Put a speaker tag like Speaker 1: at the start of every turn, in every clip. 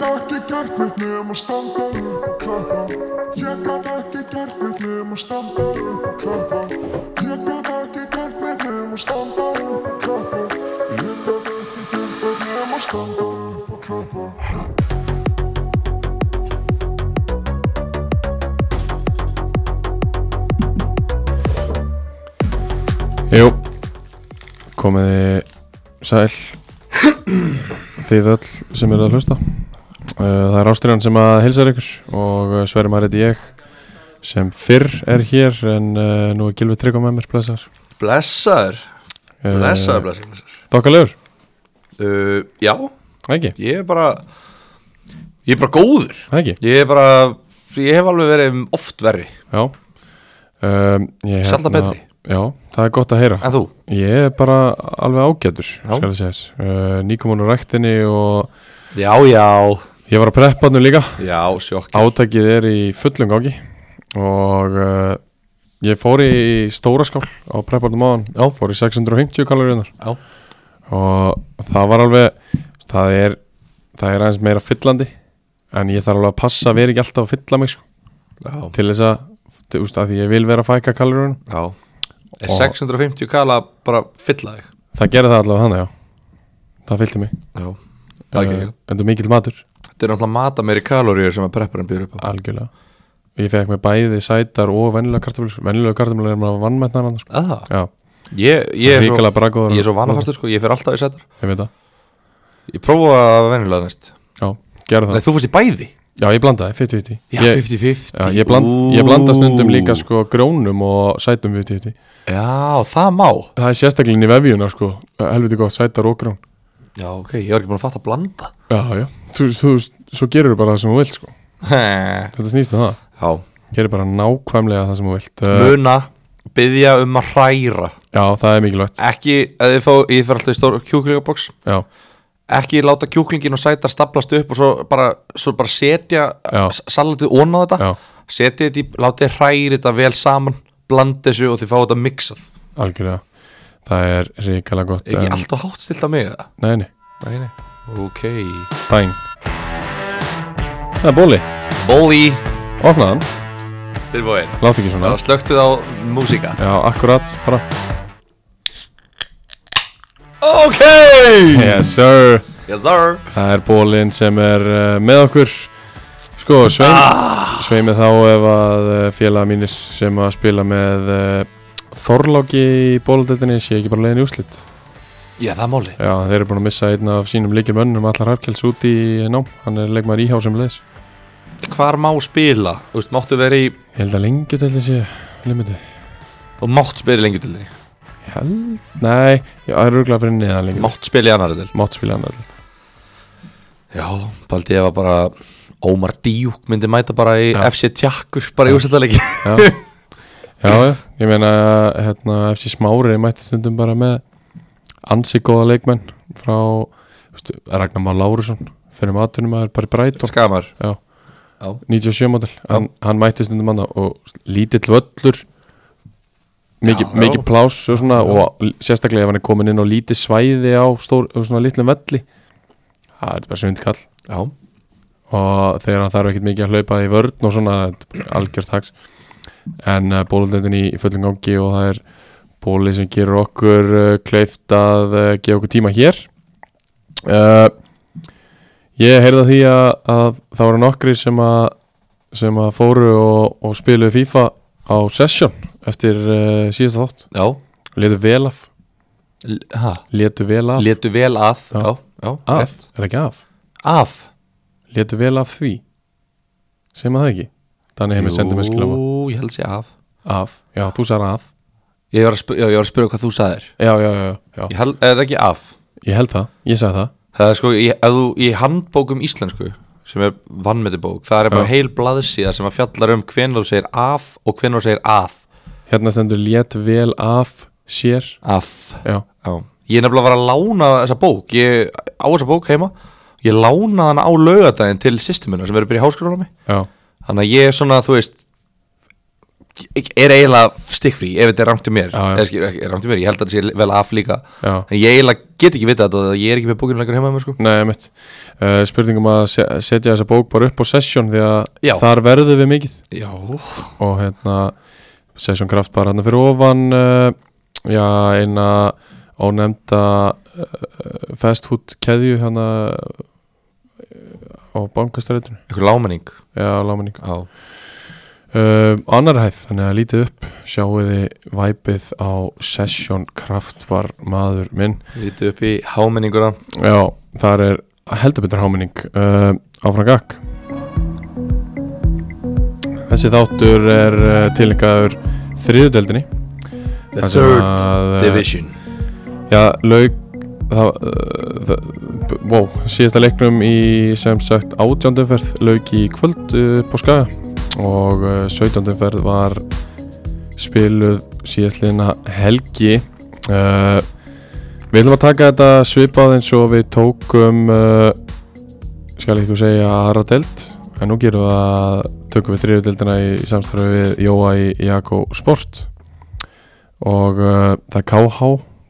Speaker 1: gert neitt nema standa upp og klappa Ég gat ekki gert neitt nema standa upp og klappa Ég gat ekki gert neitt nema standa upp og klappa Ég gat ekki gert neitt nema standa upp og klappa
Speaker 2: Jú, komiði sæl Þið öll sem eru að hlusta Uh, Það er Ástriðan sem að heilsaður ykkur og uh, Sverri Marrið ég sem fyrr er hér en uh, nú er Gilvi Tryggva með mér, blessaður
Speaker 3: Blessaður,
Speaker 2: Uh,
Speaker 3: blessaður, blessaður blessaður.
Speaker 2: Þokkalegur,
Speaker 3: uh, Já,
Speaker 2: ekki,
Speaker 3: ég er bara Ég er bara góður
Speaker 2: ekki,
Speaker 3: Ég er bara, ég hef alveg verið oft verri
Speaker 2: já um, ég,
Speaker 3: Sjaldan
Speaker 2: hérna-
Speaker 3: betri.
Speaker 2: Já, það er gott að heyra
Speaker 3: En þú?
Speaker 2: Ég er bara alveg ágætur,
Speaker 3: Já.
Speaker 2: skal ég segja þess uh, Nýkomun úr ræktinni og
Speaker 3: Já, já,
Speaker 2: ég var að preppa nú líka
Speaker 3: já, sjokk
Speaker 2: Átækið er í fullum gangi og uh, ég fór í stóra skál á prepparnum áðan, Já. fór í 650 kaloríunar
Speaker 3: Já.
Speaker 2: og það var alveg, það er, það er aðeins meira fyllandi en ég þarf alveg að passa að vera ekki alltaf að fylla mig sko,
Speaker 3: Já,
Speaker 2: til þess að, þú veist, að því ég vil vera að fæka kaloríunum,
Speaker 3: já Er
Speaker 2: Og-
Speaker 3: 650 kala bara fylla þig?
Speaker 2: það gerir það allavega þannig, já, það fyllti mig,
Speaker 3: Já, það ekki
Speaker 2: Eh, en það er mikill matur,
Speaker 3: Þetta er náttúrulega mata meiri kaloríur sem að prepparinn býður upp á
Speaker 2: algjörlega. Ég fekk með bæði sætar og venjulega kartamlur, venjulega kartamlur er maður vannmætnar annars sko,
Speaker 3: Að það?
Speaker 2: já.
Speaker 3: Ég, ég er
Speaker 2: Hrikalega
Speaker 3: svo,
Speaker 2: braggóður.
Speaker 3: ég er svo vanafastur sko, ég fer alltaf í setar
Speaker 2: Ég veit það,
Speaker 3: Ég prófa að venjulega næst
Speaker 2: já, gerðu
Speaker 3: Nei,
Speaker 2: það
Speaker 3: þú fórst í bæði?
Speaker 2: Já, ég blandaði, 50-50 Ég-
Speaker 3: 50-50
Speaker 2: Já, ég, bland, ég blanda stundum líka sko grónum og sætum 50-50
Speaker 3: Já, það má
Speaker 2: Það er sérstaklega inn í vefjuna sko Helviti gott, sætar og grón
Speaker 3: Já, ok, ég var ekki búin að fatta að blanda
Speaker 2: Já, já, þú, þú, svo gerur bara það sem þú vilt sko
Speaker 3: Já,
Speaker 2: Þetta snýst um það Gerir bara nákvæmlega það sem þú vilt uh,
Speaker 3: muna, byggja um að hræra
Speaker 2: Já, það er mikilvægt
Speaker 3: Ekki, ef ég, fá, ég fer alltaf í stór kjúklingaboks
Speaker 2: Já,
Speaker 3: Ekki láta kjúklingin og sæta staplast upp og svo bara, svo bara setja
Speaker 2: Já.
Speaker 3: s- salatið onna á þetta
Speaker 2: já,
Speaker 3: Setja þetta í, láta þið hræri þetta vel saman Blanda þessu og þið fá þetta mixað
Speaker 2: algjörlega Það er ríkala gott
Speaker 3: Er ekki
Speaker 2: en-
Speaker 3: alltaf hátt stilt af mig það?
Speaker 2: Nei, nei,
Speaker 3: Nei, nei Ok
Speaker 2: bæn Það er bóli,
Speaker 3: Bóli
Speaker 2: opnaði hann,
Speaker 3: Tilbúin
Speaker 2: látt ekki svona
Speaker 3: Það slöktið á músíka
Speaker 2: Já, akkurat, bara
Speaker 3: Ok
Speaker 2: Yes sir
Speaker 3: Yes sir
Speaker 2: Það er bólinn sem er uh, með okkur Sko, sveim, sveimi þá ef að uh, félaga mínir sem að spila með uh, Þorláki í bóladeltinni sé ekki bara leiðin í úslit
Speaker 3: Já, það er máli
Speaker 2: Já, þeir eru búin að missa einn af sínum leikir mönnum allar harkels út í nám Hann er leikmaður íhá sem leiðis
Speaker 3: Hvar má spila? Þú veist, máttu vera í
Speaker 2: Ég held að lengju deltin sé limiti
Speaker 3: Þú mátt spila í lengi til þér
Speaker 2: Ég held, nei, já, það er örgulega fyrir neðan lengju
Speaker 3: Mátt spila í annari til
Speaker 2: Mátt spila hann alltaf
Speaker 3: Já, paldi ég var bara Ómar Díuk myndi mæta bara í
Speaker 2: Já.
Speaker 3: FC Tjakkur Bara í úrstættalegi
Speaker 2: Já, já, já, ég meina hérna, FC Smári mætti stundum bara með ansi góða leikmenn frá veistu, Ragnar Már Lárusson fyrir matunum að er bara í Breitor
Speaker 3: Skamar
Speaker 2: já,
Speaker 3: Já.
Speaker 2: 97 model hann, hann mætti stundum annað og lítill völlur mikið
Speaker 3: Já, já.
Speaker 2: miki plás og, svona, og l- sérstaklega ef hann er komin inn á lítið svæði á stór, og svona litlum velli það er bara svindkall
Speaker 3: Já
Speaker 2: og þegar hann þarf ekkert mikið að hlaupa í vörn og svona þetta er bara algjört haks en uh, bóluleitin í, í fullum gangi og það er bóli sem gerur okkur uh, kleift að uh, gefa okkur tíma hér uh, ég heyrði að því að, að það voru nokkri sem að sem að fóru og, og spiluðu FIFA á session eftir uh, síðasta þátt
Speaker 3: Já
Speaker 2: letu vel af
Speaker 3: L- Ha
Speaker 2: letu vel af
Speaker 3: Létu vel að
Speaker 2: Já.
Speaker 3: Já, já
Speaker 2: af,
Speaker 3: rétt.
Speaker 2: er ekki af
Speaker 3: Að
Speaker 2: letu vel af því sem að það ekki þannig hefur sendið mér skilama
Speaker 3: Jú, ég held sér af
Speaker 2: Af, já, þú sagði að
Speaker 3: Ég var að spyrja, já, ég var að spyrja hvað þú sagðir
Speaker 2: Já, já, já, já,
Speaker 3: Ég held, er það ekki af
Speaker 2: ég held það, ég sagði það
Speaker 3: Það er sko, í, ef þú, í handbókum íslensku sem er vannmetibók, það er bara
Speaker 2: Já.
Speaker 3: heil blaðsíða sem að fjallar um hvenær þú segir af og hvenær þú segir að
Speaker 2: Hérna stendur lét vel af sér
Speaker 3: af
Speaker 2: Já,
Speaker 3: Já. Ég er nefnilega var að lána þessa bók ég á þessa bók heima ég lánaði hana á laugadaginn til sýstumina sem eru byrja háskólanum
Speaker 2: já,
Speaker 3: þannig að ég er svona, þú veist er eiginlega stikkfrí ef þetta er rangt í mér
Speaker 2: Já, já.
Speaker 3: eða skil, ekki- er rangt í mér, ég held að þetta sé vel af líka
Speaker 2: Já.
Speaker 3: en ég eiginlega get ekki vitað þetta og ég er ekki með bókinu lengur heima með sko
Speaker 2: Nei, mitt uh, Spurningum að se- setja þessa bók bara upp á session Því að
Speaker 3: Já.
Speaker 2: þar verðum við mikið
Speaker 3: já,
Speaker 2: Og hérna Session Kraft bara hérna fyrir ofan uh, Já, eina ónefnda uh, fast food keðju hérna uh, á bankastrætinu
Speaker 3: einhver lámenning
Speaker 2: Já, lámanning
Speaker 3: já,
Speaker 2: uh, Annar hæð, þannig að lítið upp Sjáuði væpið á Session Kraft var maður minn
Speaker 3: lítu upp í hámenninguna
Speaker 2: Já, þar er heldur betur háminning uh, áfram gakk Þessi þáttur er uh, tilengaður þriðudeldinni
Speaker 3: the
Speaker 2: þar sem
Speaker 3: third
Speaker 2: að, eh,
Speaker 3: division
Speaker 2: Já, lauk það, uh, það, b- wow, síðasta leiknum í sem sagt átjándumferð lauk í kvöld uh, upp á skaga og uh, sautjándumferð var spiluð síðastliðina helgi uh, Við ætlum að taka þetta svipað eins og við tókum uh, skal ekki segja aðra delt en nú gerum við að tökum við þriðu deltina í samstarfi við Jóa í Jakko Sport og uh, það er KH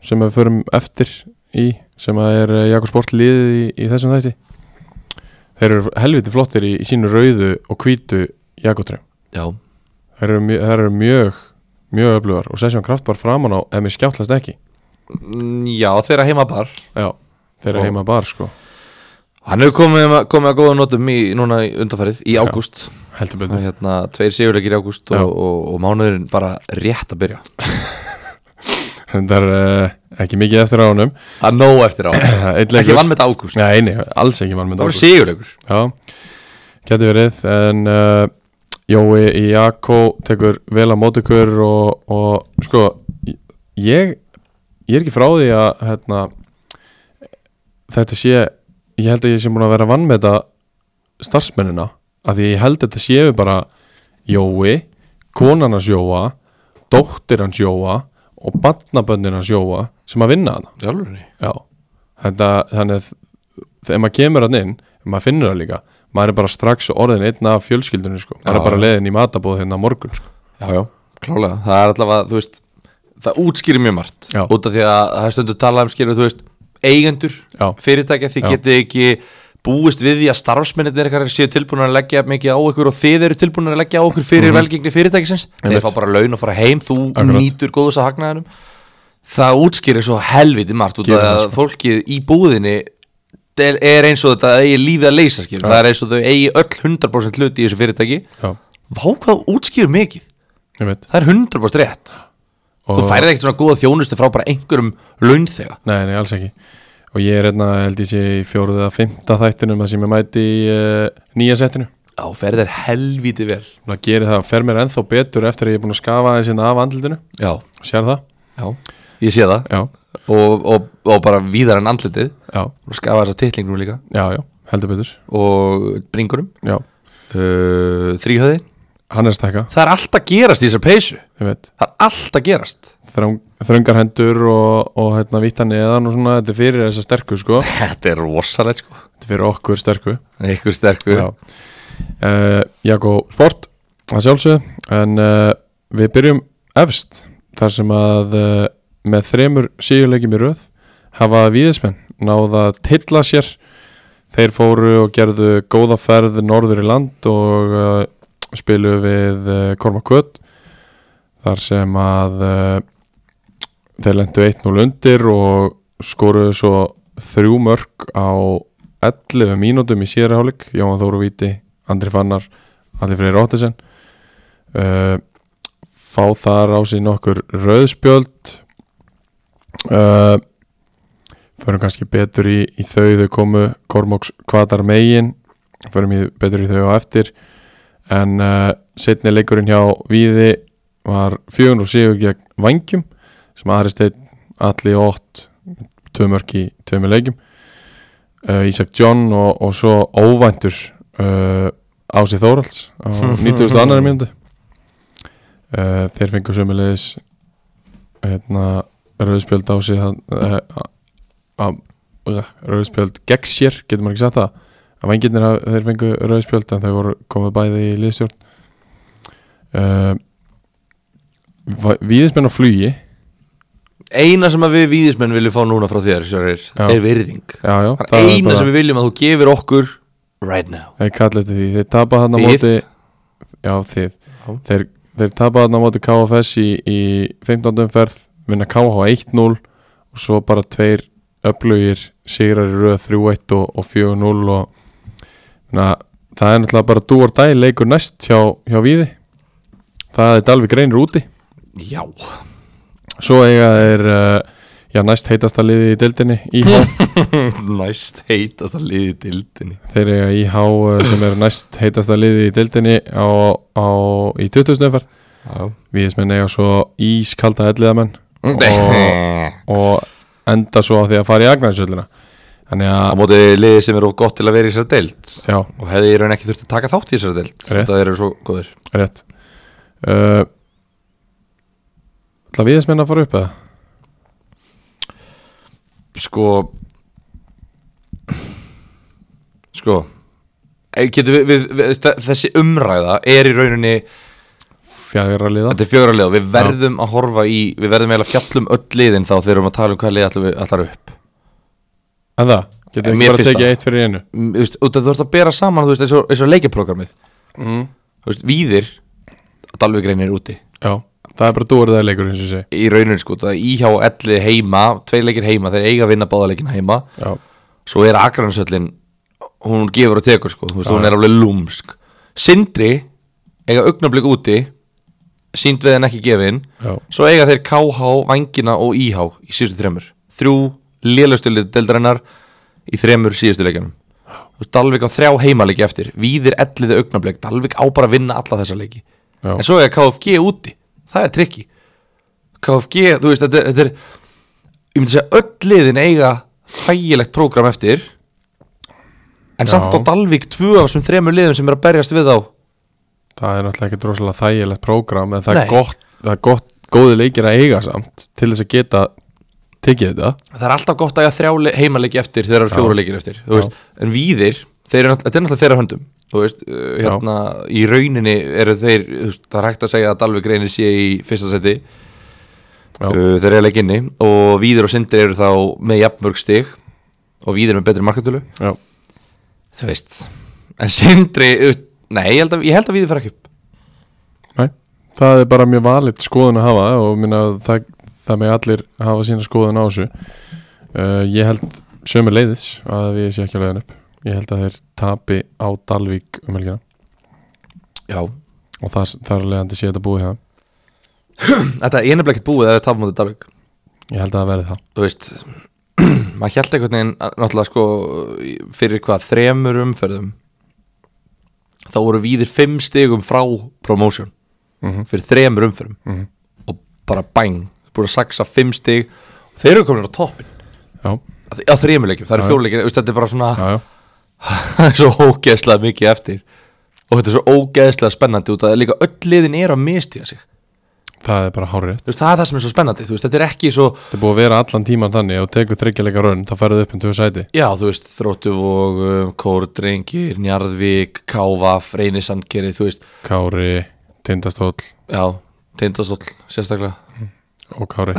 Speaker 2: sem við förum eftir í sem að er Jakko Sport liðið í, í þessum þætti þeir eru helviti flottir í, í sínu rauðu og hvítu Jakkotrem
Speaker 3: já,
Speaker 2: þeir eru, mjö- þeir eru mjög mjög öflugar og sessjón kraft bara framan á ef mér skjáttlast ekki
Speaker 3: Mm, já þeirra heimabar
Speaker 2: Já, þeir eru
Speaker 3: Og-
Speaker 2: heima bar sko
Speaker 3: hann hefur komið, komið að góða nótum í núna í undanfærið í
Speaker 2: Já.
Speaker 3: ágúst
Speaker 2: heldur
Speaker 3: Það er
Speaker 2: betur
Speaker 3: hérna, tveir sigurleikir í ágúst og,
Speaker 2: Já.
Speaker 3: og, og mánuðurinn bara rétt að byrja
Speaker 2: Það er uh, ekki mikið eftir á honum
Speaker 3: að nóg eftir á ekki vann með þetta ágúst
Speaker 2: Nei, nei, alls ekki vann með
Speaker 3: það voru sigurleikur
Speaker 2: Já, getur verið en uh, Jói Jakko tekur vel að móti ykkur og, og sko ég, ég er ekki frá því að hérna, þetta sé ég held að ég sé múin að vera vann með þetta starfsmennina af því ég held að þetta séu bara Jói, konan hans Jóa dóttir hans Jóa og barnaböndin hans Jóa sem að vinna hana
Speaker 3: Jálfurni.
Speaker 2: Já, þetta, þannig að þegar maður kemur hann inn, maður finnur það líka maður er bara strax orðin einn af fjölskyldunni sko. maður
Speaker 3: Já,
Speaker 2: er bara
Speaker 3: já.
Speaker 2: leiðin í matabóð hérna á morgun sko.
Speaker 3: já, já, klálega það er allavega, þú veist, það útskýrir mjög margt
Speaker 2: Já.
Speaker 3: út af því að það er stundu talað um skilur, þú veist, eigendur
Speaker 2: Já.
Speaker 3: fyrirtækja, þið
Speaker 2: Já.
Speaker 3: getið ekki búist við því að starfsmennir ykkar séu tilbúin að leggja mikið á ykkur og þið eru tilbúin að leggja á ykkur fyrir velgengni fyrirtækisins þeir
Speaker 2: Mhm. Einmitt.
Speaker 3: fá bara laun og fara heim, þú
Speaker 2: Akkurat.
Speaker 3: nýtur góðus að hagnaðinum það útskýrir svo helviti margt út af
Speaker 2: Gerir
Speaker 3: því
Speaker 2: það,
Speaker 3: að fólkið í búðinni del- er eins og þetta eigi lífið að leysa skilur, það er eins og þau eigi öll 100% hlut í þessu fyrirtæki
Speaker 2: Já,
Speaker 3: Vá hvað þú útskýrir mikið,
Speaker 2: ég veit
Speaker 3: það er 100% rétt
Speaker 2: og,
Speaker 3: þú færið ekkert svona góða þjónustu frá bara einhverjum launþega
Speaker 2: Nei, nei, alls ekki og ég er hérna, held ég sé í fjóruð eða fymta þættinum það sem ég mæti í uh, nýja settinu
Speaker 3: Já, ferið er helviti vel
Speaker 2: það gerir það, fer mér ennþá betur eftir að ég er búin að skafa aðeins hérna af andlutinu
Speaker 3: Já,
Speaker 2: sér það?
Speaker 3: já, ég sé það
Speaker 2: Já,
Speaker 3: og, og, og bara víðar en andlitið
Speaker 2: já,
Speaker 3: og skafa þess að titlingnum líka
Speaker 2: já, já, heldur betur
Speaker 3: og bringurum
Speaker 2: Já,
Speaker 3: uh, þrýhöðin
Speaker 2: hann er að stækka,
Speaker 3: það er allt að gerast í þessar peysu
Speaker 2: ég veit
Speaker 3: það er allt að gerast
Speaker 2: Þröng, þröngar hendur og, og hérna vittan neðan og svona, þetta er fyrir þessa sterku sko
Speaker 3: þetta er rosalegt sko
Speaker 2: Þetta er fyrir okkur sterku
Speaker 3: einhver sterkur
Speaker 2: Já uh, Jakko Sport að sjálfsögðu en uh, við byrjum efst þar sem að uh, með þremur síðuleikjum í röð hafa víðismenn náða að tilla sér þeir fóru og gerðu góða ferð norður í land og uh, spilu við uh, Korma Kvöt þar sem að uh, þeir lendu 1-0 undir og skoruðu svo þrjú mörg á 11 mínútum í síðara hálfleik Jóhann Þóru Víti, Andri Fannar Allir Freyri Róttisen uh, fá þar á sig nokkur rauðspjöld uh, förum kannski betur í, í þau þau komu Kormóks kvatar megin förum í, betur í þau á eftir en uh, setni leikurinn hjá Víði var 400 sigur gegn vangjum sem Ari Steinn, Alli og Ott tvö mörk í tveimu leikjum uh, Ísak John og, og svo óvæntur uh, Ási Þóralds á 92. annari mínútu uh, þeir fengu sömulegis hérna rauðspjöld á sig uh, rauðspjöld gegn sér, getur maður ekki sagt það að vengirnir haf- þeir fengu rauðspjöld en þau voru komið bæði í liðstjórn uh, Va- Víðismenn á flugi
Speaker 3: eina sem að við víðismenn viljum fá núna frá þér Sverrir,
Speaker 2: Já.
Speaker 3: er virðing
Speaker 2: Já, já,
Speaker 3: það er eina sem við viljum að þú gefir okkur right now
Speaker 2: Þeir kalla eftir því, þeir tapa þarna á
Speaker 3: Þið?
Speaker 2: móti Já, þið Þeir, þeir tapa þarna á móti KFS í, í 15. umferð vinna KH 1-0 og svo bara tveir öflugir sigrar í röð 3-1 og, og 4-0 og na, það er náttúrulega bara dú og dæ leikur næst hjá, hjá Víði það er Dalvi Greinir úti
Speaker 3: já,
Speaker 2: svo eiga þeir uh, já, næst heitasta liði í deildinni IH
Speaker 3: næst heitast að liði dildinni
Speaker 2: þeir eiga IH eh, sem er næst heitasta liði í deildinni á, á, í 2000 umferð
Speaker 3: já,
Speaker 2: Víðismenn eiga svo ískalda elliðamenn og,
Speaker 3: á
Speaker 2: og enda svo á því að fara í Agnarsöllina Þannig að,
Speaker 3: móti liði sem er of gott til að vera í þessari dild
Speaker 2: já,
Speaker 3: og hefði ég raun ekki þurft að taka þátt í þessari dild
Speaker 2: Rétt.
Speaker 3: það eru svo góðir
Speaker 2: rétt uh, Það viðismenn að fara upp eða?
Speaker 3: sko sko Eh, getum við, við, við, þe- þessi umræða er í rauninni
Speaker 2: Fjagra liða
Speaker 3: þetta er fjögra liða og við verðum að horfa í við verðum eiginlega að fjallum öll liðin þá þegar við erum að tala um hvað liði allar, við- allar upp
Speaker 2: En það, getur
Speaker 3: En
Speaker 2: ekki
Speaker 3: mér
Speaker 2: bara
Speaker 3: finnst
Speaker 2: að tekið
Speaker 3: það.
Speaker 2: eitt fyrir einu
Speaker 3: Mm, þú veist, og þú ert að bera saman þú veist, eins, og, eins og leikjaprogrammið
Speaker 2: mm.
Speaker 3: Þú veist, víðir Dalvigreinir úti
Speaker 2: Já, það er bara dúrið það leikur eins og sé
Speaker 3: í rauninni sko, það er íhjá elli heima tveir leikir heima, þeir eiga að vinna báðaleikina heima
Speaker 2: Já,
Speaker 3: svo er Akransöllin hún gefur og tekur sko, þú veist,
Speaker 2: Já,
Speaker 3: hún er alveg lúmsk Sindri eiga augnablík úti sínd við en ekki gefin
Speaker 2: já,
Speaker 3: svo eiga þeir KH, Vangina og IH í síðustu þremur þrjú lélustu deildarinnar í þremur síðustu leikunum Dalvik á þrjá heimaleiki eftir Víðir elliði augnablík, Dalvik á bara að vinna alla þessa leiki
Speaker 2: já,
Speaker 3: en svo er KFG úti það er trikki KFG, þú veist, þetta, er- þetta er ég myndi segja öll liðin eiga þægilegt prógram eftir en
Speaker 2: Já.
Speaker 3: samt á Dalvík tvö af þessum þremur liðum sem er að berjast við á
Speaker 2: það er náttúrulega ekki droslega þægilegt prógram en það
Speaker 3: Nei.
Speaker 2: er gott, það er gott góði leikir að eiga samt til þess að geta tekið þetta
Speaker 3: það er alltaf gott að eiga þrjá le- heimaleiki eftir þegar það eru fjóra leikir eftir þú
Speaker 2: Já.
Speaker 3: veist, en víðir, þeir eru náttúrulega- þetta er náttúrulega þeirra höndum þú veist, uh, hérna, í rauninni eru þeir þú veist, það er hægt að segja að Dalvík reynir sé í fyrsta seti
Speaker 2: Já.
Speaker 3: uh, þeir eru leik inni og víðir og sindir eru þá með jafnmörg stig og víðir með betri markatölu
Speaker 2: Já,
Speaker 3: þú veist en sindri, þú veist, nei, ég held að, ég held að víðir fer ekki upp
Speaker 2: Nei, það er bara mjög valitt skoðun að hafa og minna, það, það með allir hafa sína skoðun á þessu uh, Ég held sömu leiðis að við sé ekki að leiðin upp Ég held að þeir tapi á Dalvík um helgina
Speaker 3: já,
Speaker 2: og þar, þar af leiðandi sé þetta búið hjá þeim.
Speaker 3: þetta er nefnilega ekkert búið að það tapa mútið Dalvík
Speaker 2: Ég held að það verði það
Speaker 3: þú veist maður held einhvern veginn að- náttúrulega sko fyrir hvað þremur umferðum þá voru víðir fimm stigum frá promotion
Speaker 2: Mhm.
Speaker 3: fyrir þremur umferðum
Speaker 2: Mhm.
Speaker 3: og bara bæng, búin að saxa fimm stig og þeir eru komin á toppin
Speaker 2: Já,
Speaker 3: á þremuleikjum, það eru
Speaker 2: Já.
Speaker 3: fjóluleikjum þetta er bara svona
Speaker 2: já, já,
Speaker 3: það er svo ógeðslega mikið eftir og þetta er svo ógeðslega spennandi út að líka öll liðin er að mistíða sig
Speaker 2: það er bara hárið
Speaker 3: Þú veist, það er það sem er svo spennandi, þú veist, þetta er ekki svo
Speaker 2: Þetta er búið að vera allan tíman þannig og tekur þryggjuleika raun, þá færðu upp um tvö sæti
Speaker 3: Já, þú veist, Þróttuvog, Kórdrengir, Njarðvík, Kávaf, Reynisandkerið, þú veist,
Speaker 2: Kári, Tindastóll
Speaker 3: já, Tindastóll, sérstaklega.
Speaker 2: og Kári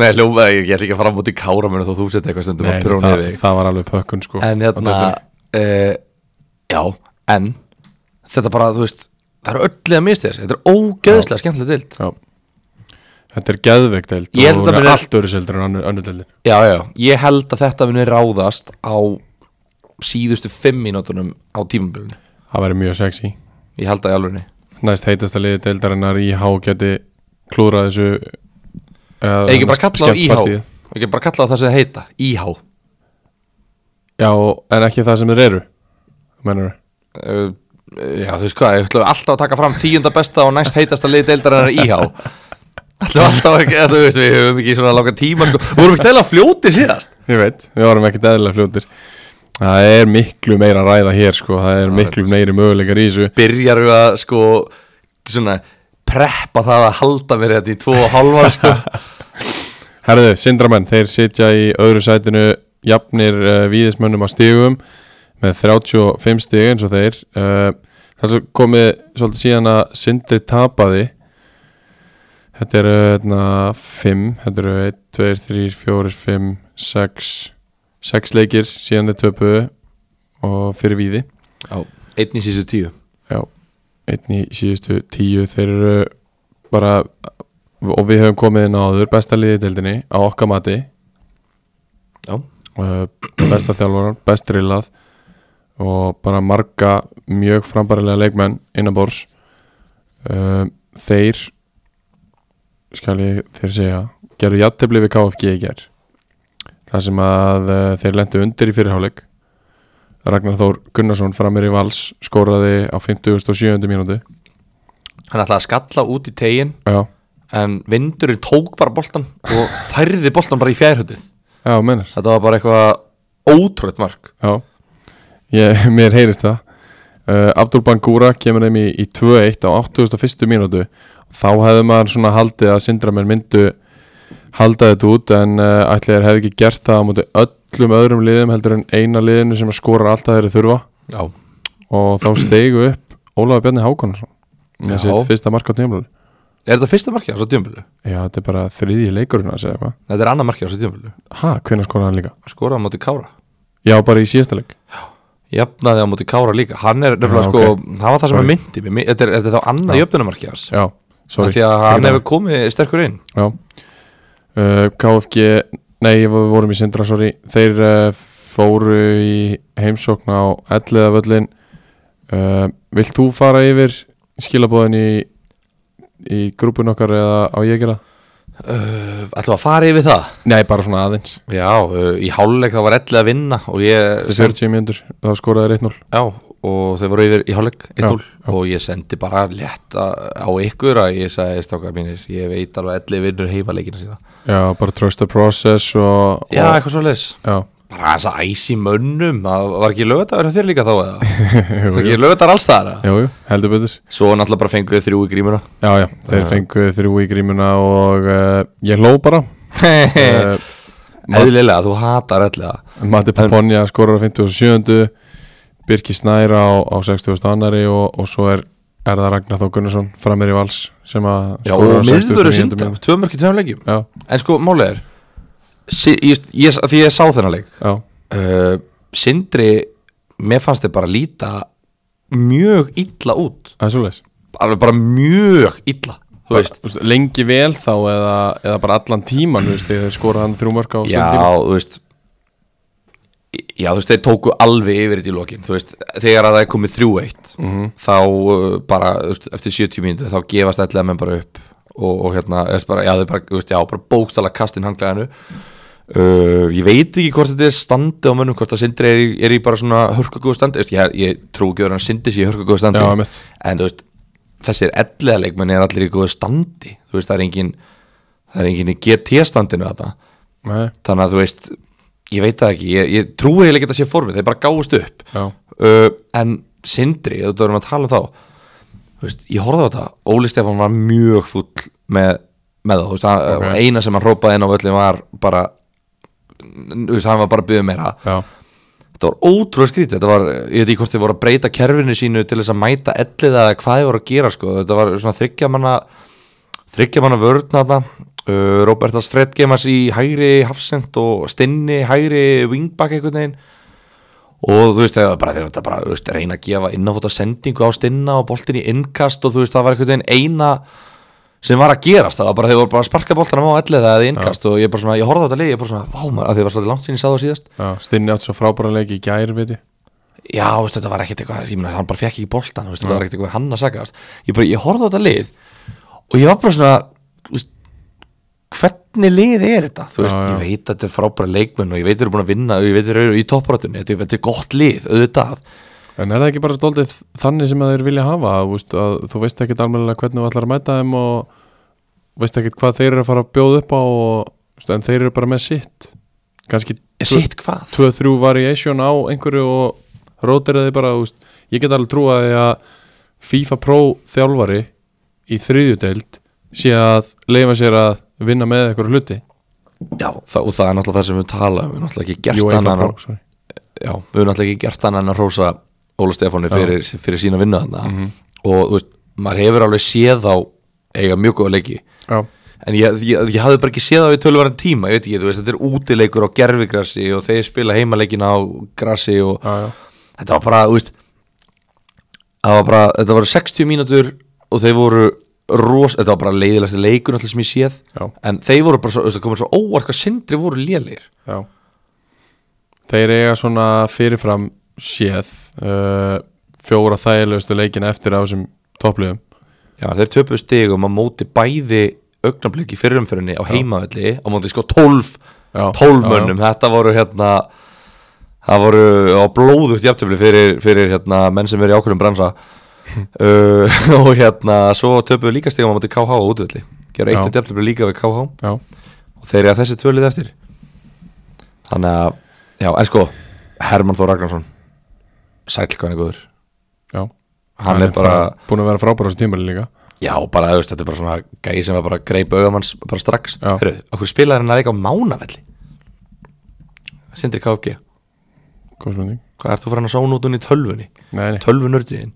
Speaker 3: Nei, hljómaði, ég er ekki að fara á móti Kára mér þó þú setja eitthvað stundum
Speaker 2: Nei,
Speaker 3: að prjóna
Speaker 2: það,
Speaker 3: þig.
Speaker 2: það var alveg pökkun sko
Speaker 3: En
Speaker 2: Á
Speaker 3: hérna,
Speaker 2: deildinni.
Speaker 3: uh, já, en, þetta bara, þú veist, það eru öllu að misti þessi, þetta er ógeðslega skemmtilega dild.
Speaker 2: Já Þetta er geðveikt deild
Speaker 3: Ég
Speaker 2: og
Speaker 3: held að
Speaker 2: hún er
Speaker 3: muni-
Speaker 2: allt öðru seldur en önnur, önnur deildin
Speaker 3: Já, já, ég held að þetta muni ráðast á síðustu fimm mínútunum á tímabilinu.
Speaker 2: Það væri mjög sexy
Speaker 3: Ég held að í alvegni.
Speaker 2: Næst heitasta liði deildarinnar IH geti klúrað þessu eða
Speaker 3: Ekki bara
Speaker 2: skemmt
Speaker 3: kalla á IH
Speaker 2: partíið.
Speaker 3: Ekki bara kalla á það sem það heita IH
Speaker 2: Já, en ekki það sem þeir eru Menur
Speaker 3: uh, Já þú veist hvað, ég ætlum alltaf að taka fram tíunda besta og næst heitasta lið deildarinnar IH Ætlum alltaf ekki, þú veist við höfum ekki svona langa tíma sko. Vorum ekki deila fljóti síðast
Speaker 2: Ég veit, við varum ekkert eðlilega fljótir Það er miklu meira að ræða hér sko Það er miklu meiri möguleikar í þessu
Speaker 3: Byrjar við að sko svona preppa það að halda mér þetta í tvo og halva sko.
Speaker 2: Herðu, Sindramenn, þeir sitja í öðru sætinu jafnir uh, víðismönnum á stigum með 35 stig Eh, eins og þeir uh, það sem komið svolítið síðan að Sindri tapaði Þetta eru hérna 5, þetta eru 1, 2, 3, 4, 5, 6 6 leikir síðan þeir töpuðu og fyrir víði
Speaker 3: Einn í síðustu tíu
Speaker 2: einn í síðustu 10 þeir eru bara og við höfum komið inn á áður besta liðið í deildinni á okkar mati
Speaker 3: Já.
Speaker 2: Eh, besta þjálfarar, best drillað og bara marga mjög frambarilega leikmenn innan bors þeir skal ég þeir segja gerðu jættefli við KFG í ger þar sem að uh, þeir lendu undir í fyrirháleik Ragnar Þór Gunnarsson framir í vals skoraði á 57. mínúti
Speaker 3: Hann ætlaði að skalla út í tegin
Speaker 2: já,
Speaker 3: En vindurinn tók bara boltan Og færði boltan bara í fjærhundið
Speaker 2: já, mennar
Speaker 3: Þetta var bara eitthvað ótrúið mark
Speaker 2: Já, ég, mér heyrist það uh, Abdul Bangura kemur þeim í, í 2-1 á 81. mínútu þá hefði maður svona haldið að Sindramenn myndu halda þetta út en uh, ætli þeir hefði ekki gert það á móti öllum öðrum liðum heldur en eina liðinu sem skorar alltaf þeirri þurfa
Speaker 3: Já,
Speaker 2: og þá steigu upp Ólafur Bjarni Hákonarsson með
Speaker 3: Já.
Speaker 2: sitt fyrsta mark á tímlölu
Speaker 3: er þetta fyrsta markið á svo djömbilu?
Speaker 2: Já, þetta er bara þriðji leikurinn að segja eitthvað
Speaker 3: Þetta er annað markið á svo djömbilu
Speaker 2: Ha, hvernig skoraði hann líka?
Speaker 3: Hann skoraði á móti Kára
Speaker 2: Já, bara í síðasta leik
Speaker 3: Jafnaði á móti Kára líka Hann er nefnilega
Speaker 2: Já,
Speaker 3: sko,
Speaker 2: ok.
Speaker 3: það var það sem
Speaker 2: Sorry.
Speaker 3: að myndi mig. Þetta er, þetta er þá annað jöfnumarkið hans
Speaker 2: Já, sorry
Speaker 3: Af Því að hann
Speaker 2: Fyrirgefðu.
Speaker 3: hefur komið sterkur inn
Speaker 2: Já uh, KFG, nei við vorum í Sindra, sorry Þeir uh, fóru í heimsókn á elliða völlin uh, Vilt þú fara yfir skilabóðin í, í grúpun okkar eða á ég að gera?
Speaker 3: Ætlum að fara yfir það?
Speaker 2: Nei, bara svona aðeins
Speaker 3: Já, uh, í háluleik þá var ellið að vinna og ég
Speaker 2: Þessi 40 Eh, mínútur, þá skoraði þeir 1-0
Speaker 3: Já, og þau voru yfir í hálfleik 1-0
Speaker 2: Já,
Speaker 3: og ég sendi bara létt að- á ykkur að ég sagði strákar mínir ég veit alveg elli vinnur heimaleikina sína
Speaker 2: Já, bara trust the process og, og
Speaker 3: Já, eitthvað svo leis
Speaker 2: já.
Speaker 3: Bara þess að æsi mönnum, það var ekki lögadagur hjá þér líka þá eða?
Speaker 2: jú,
Speaker 3: Var
Speaker 2: jú,
Speaker 3: ekki lögadagur alls þar? eða?
Speaker 2: jú, jú, heldur betur
Speaker 3: Svo náttúrulega bara fenguðu þrjú í grímuna
Speaker 2: Já, já, þeir fengu þrjú í grímuna og uh, ég hló bara
Speaker 3: Eðlilega,
Speaker 2: uh,
Speaker 3: þú hatar elliða
Speaker 2: Matti Paponja skorar á 57. Birki Snær á, á 60. annari og, og svo er, er það Ragnar Þó Gunnarsson framir í vals sem að
Speaker 3: Já, og
Speaker 2: á 69.
Speaker 3: miðvöru sindra, tvö mörki tveim leikjum
Speaker 2: Já,
Speaker 3: En sko, málið er sí, ég, ég, Því ég sá þennan leik
Speaker 2: já,
Speaker 3: uh, Sindri mér fannst þið bara líta mjög illa út
Speaker 2: það er svoleiðis
Speaker 3: alveg bara mjög illa þú veist
Speaker 2: Þú veist, Lengi vel þá eða, eða bara allan tíman veist, þegar þeir skoraði hann þrjú mörg á
Speaker 3: já,
Speaker 2: stundin
Speaker 3: þú veist já, þú veist, þeir tóku alveg yfir þetta í lokin þú veist, þegar að það er komið 3-1
Speaker 2: Mhm.
Speaker 3: þá uh, bara, þú veist, eftir 70 mínútu þá gefast allega menn bara upp og, og hérna, þú veist, bara, já, þau bara, þú veist, já, bara bókstala kastin hanglaðinu Uh, ég veit ekki hvort þetta er standi á mönnum hvort að Sindri er í, er í bara svona hörkugóðu standi, Þú veist, ég, ég trú ekki að hann Sindri sé í hörkugóðu standi
Speaker 2: Já, einmitt.
Speaker 3: en þú veist, þessir ellega leikmenn er allir í góðu standi þú veist, það er engin það er engin í GT standinu þetta
Speaker 2: Nei,
Speaker 3: þannig að þú veist, ég veit það ekki ég, ég trúi heil ekki að sé formið, þeir bara gáðust upp
Speaker 2: já,
Speaker 3: uh, en Sindri, ef þú erum að tala um þá þú veist, ég horfði á þetta, Óli Stefán var mjög fúll með, með það, þú veist, hann,
Speaker 2: Ok.
Speaker 3: eina sem hann hrópaði inn á völlin var bara þú veist, hann var bara að byggja meira
Speaker 2: já,
Speaker 3: þetta var ótrúlega skrítið, þetta var ég veit ekki hvort þið voru að breyta kerfinu sínu til þess að mæta ellið eða hvað þið voru að gera sko. þetta var svona þryggja manna þryggja manna vörðna þetta uh, Robertas Fredgemas í hægri hafsend og Stinni hægri wingback einhvern veginn og þú veist, það var bara, þeir þetta bara þú veist, reyna að gefa innáfóta sendingu á Stinna og boltin í innkast og þú veist, það var einhvern veginn eina sem var að gerast, það var bara, þeir voru bara að sparka boltanum á ellið eða í innkast og ég bara svona, ég horfði á þetta lið, ég bara svona, vá maður, að þið var svolítið langt sín ég sá það síðast
Speaker 2: já Stinni átt svo frábæra leik í gær, veit ég
Speaker 3: Já, veist, þetta var ekkert eitthvað, ég meina, hann bara fekk ekki boltan, veist,
Speaker 2: Mm.
Speaker 3: þetta var ekkert eitthvað hann að saga veist. Ég bara, ég horfði á þetta lið og ég var bara svona, þú veist, hvernig lið er þetta? Þú veist,
Speaker 2: Já, já.
Speaker 3: ég veit að þetta er frábæra leikmenn og ég veit þeir eru búin að vinna og ég veit þeir eru í topparáttunni, þetta, er- þetta er gott lið, auðvitað.
Speaker 2: En er það ekki bara stóldið þannig sem að þeir vilja hafa þú veist, að þú veist ekkit almennilega hvernig þú ætlar að mæta þeim og veist ekkit hvað þeir eru að fara að bjóða upp á og, þú veist, en þeir eru bara með sitt kannski
Speaker 3: Ég sitt hvað?
Speaker 2: 2-3 variation á einhverju og rótir þeir bara þú veist, ég get alveg trúa því að FIFA Pro þjálfari í þriðjudeild sé að leifa sér að vinna með einhverju hluti
Speaker 3: Já, það, og það er náttúrulega það sem við tala um, við erum náttúrulega ekki
Speaker 2: Jú,
Speaker 3: gert
Speaker 2: FIFA
Speaker 3: annan,
Speaker 2: Pro, sorry.
Speaker 3: já, við höfum náttúrulega ekki gert annan að hrósa
Speaker 2: Mhm.
Speaker 3: Óla Stefáni fyrir, fyrir sína vinna þarna og þú veist, maður hefur alveg séð á eiga mjög góða leiki
Speaker 2: já,
Speaker 3: en ég, ég, ég hafði bara ekki séð það við tölvaran tíma, ég veit ekki, þú veist, þetta er útileikur á gerfigrassi og þeir spila heimaleikina á grassi og
Speaker 2: já, já.
Speaker 3: þetta var bara, þú veist það var bara, þetta var 60 mínútur og þeir voru ros, þetta var bara leiðilegasti leikur alltaf sem ég séð
Speaker 2: Já.
Speaker 3: en þeir voru bara, svo, þú veist, það komið svo óvart hvað sindri voru lélegir
Speaker 2: Já Þeir eiga svona fyrirfram séð uh, fjóra þægilegustu leikina eftir á þessum toppliðum
Speaker 3: Já, þeir töpuðu stigum að móti bæði augnablik í fyrirumfyrinni á heimavelli á móti sko 12
Speaker 2: Já,
Speaker 3: 12
Speaker 2: já,
Speaker 3: mönnum, þetta voru hérna það voru á blóðugt jafntöfli fyrir, fyrir hérna menn sem eru í ákveðum bransa uh, og hérna svo töpuðu líka stigum á móti KH á útvelli gera
Speaker 2: Já.
Speaker 3: eitt jafntöfli líka við KH og
Speaker 2: Já,
Speaker 3: þeir eru að þessi tvölið eftir þannig að, já, en sko Hermann Þór Ragnarsson sæll hvað hann er góður
Speaker 2: já
Speaker 3: hann er bara,
Speaker 2: Búin að vera frábæra á þessum tímali líka
Speaker 3: Já, bara þú veist, þetta er bara svona gæði sem var bara að greipa augamanns bara strax
Speaker 2: Já.
Speaker 3: Hörru, okkur spilaði hann að leika á mánavelli Sindri KFG
Speaker 2: Góð spurning
Speaker 3: Hvað ert þú farin að sóna út hún í tölvunni?
Speaker 2: Nei, nei,
Speaker 3: Tölvunurdiðin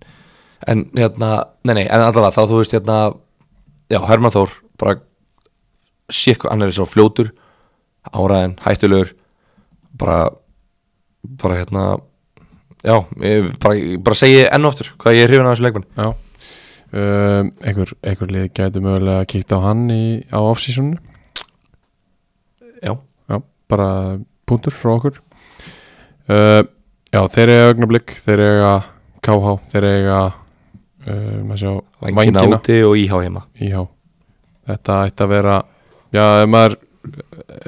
Speaker 3: En hérna, nei nei, en allavega þá þú veist hérna Já, Herman Þór bara Sér hvað, hann er svo fljótur Áraðin, hættulegur Bara Bara hérna Já, ég bara, ég bara segi enn og aftur hvað ég er hrifin að þessu leikmann
Speaker 2: já um, Einhver, einhver lið gæti mögulega að kíkta á hann í, á off-seasonu
Speaker 3: Já,
Speaker 2: Já, bara punktur frá okkur uh, Já, þeir eiga augnablík þeir eiga KH þeir eiga uh, maður sjá,
Speaker 3: vængina, úti og íhá heima
Speaker 2: Já, þetta ætti að vera Já, ef maður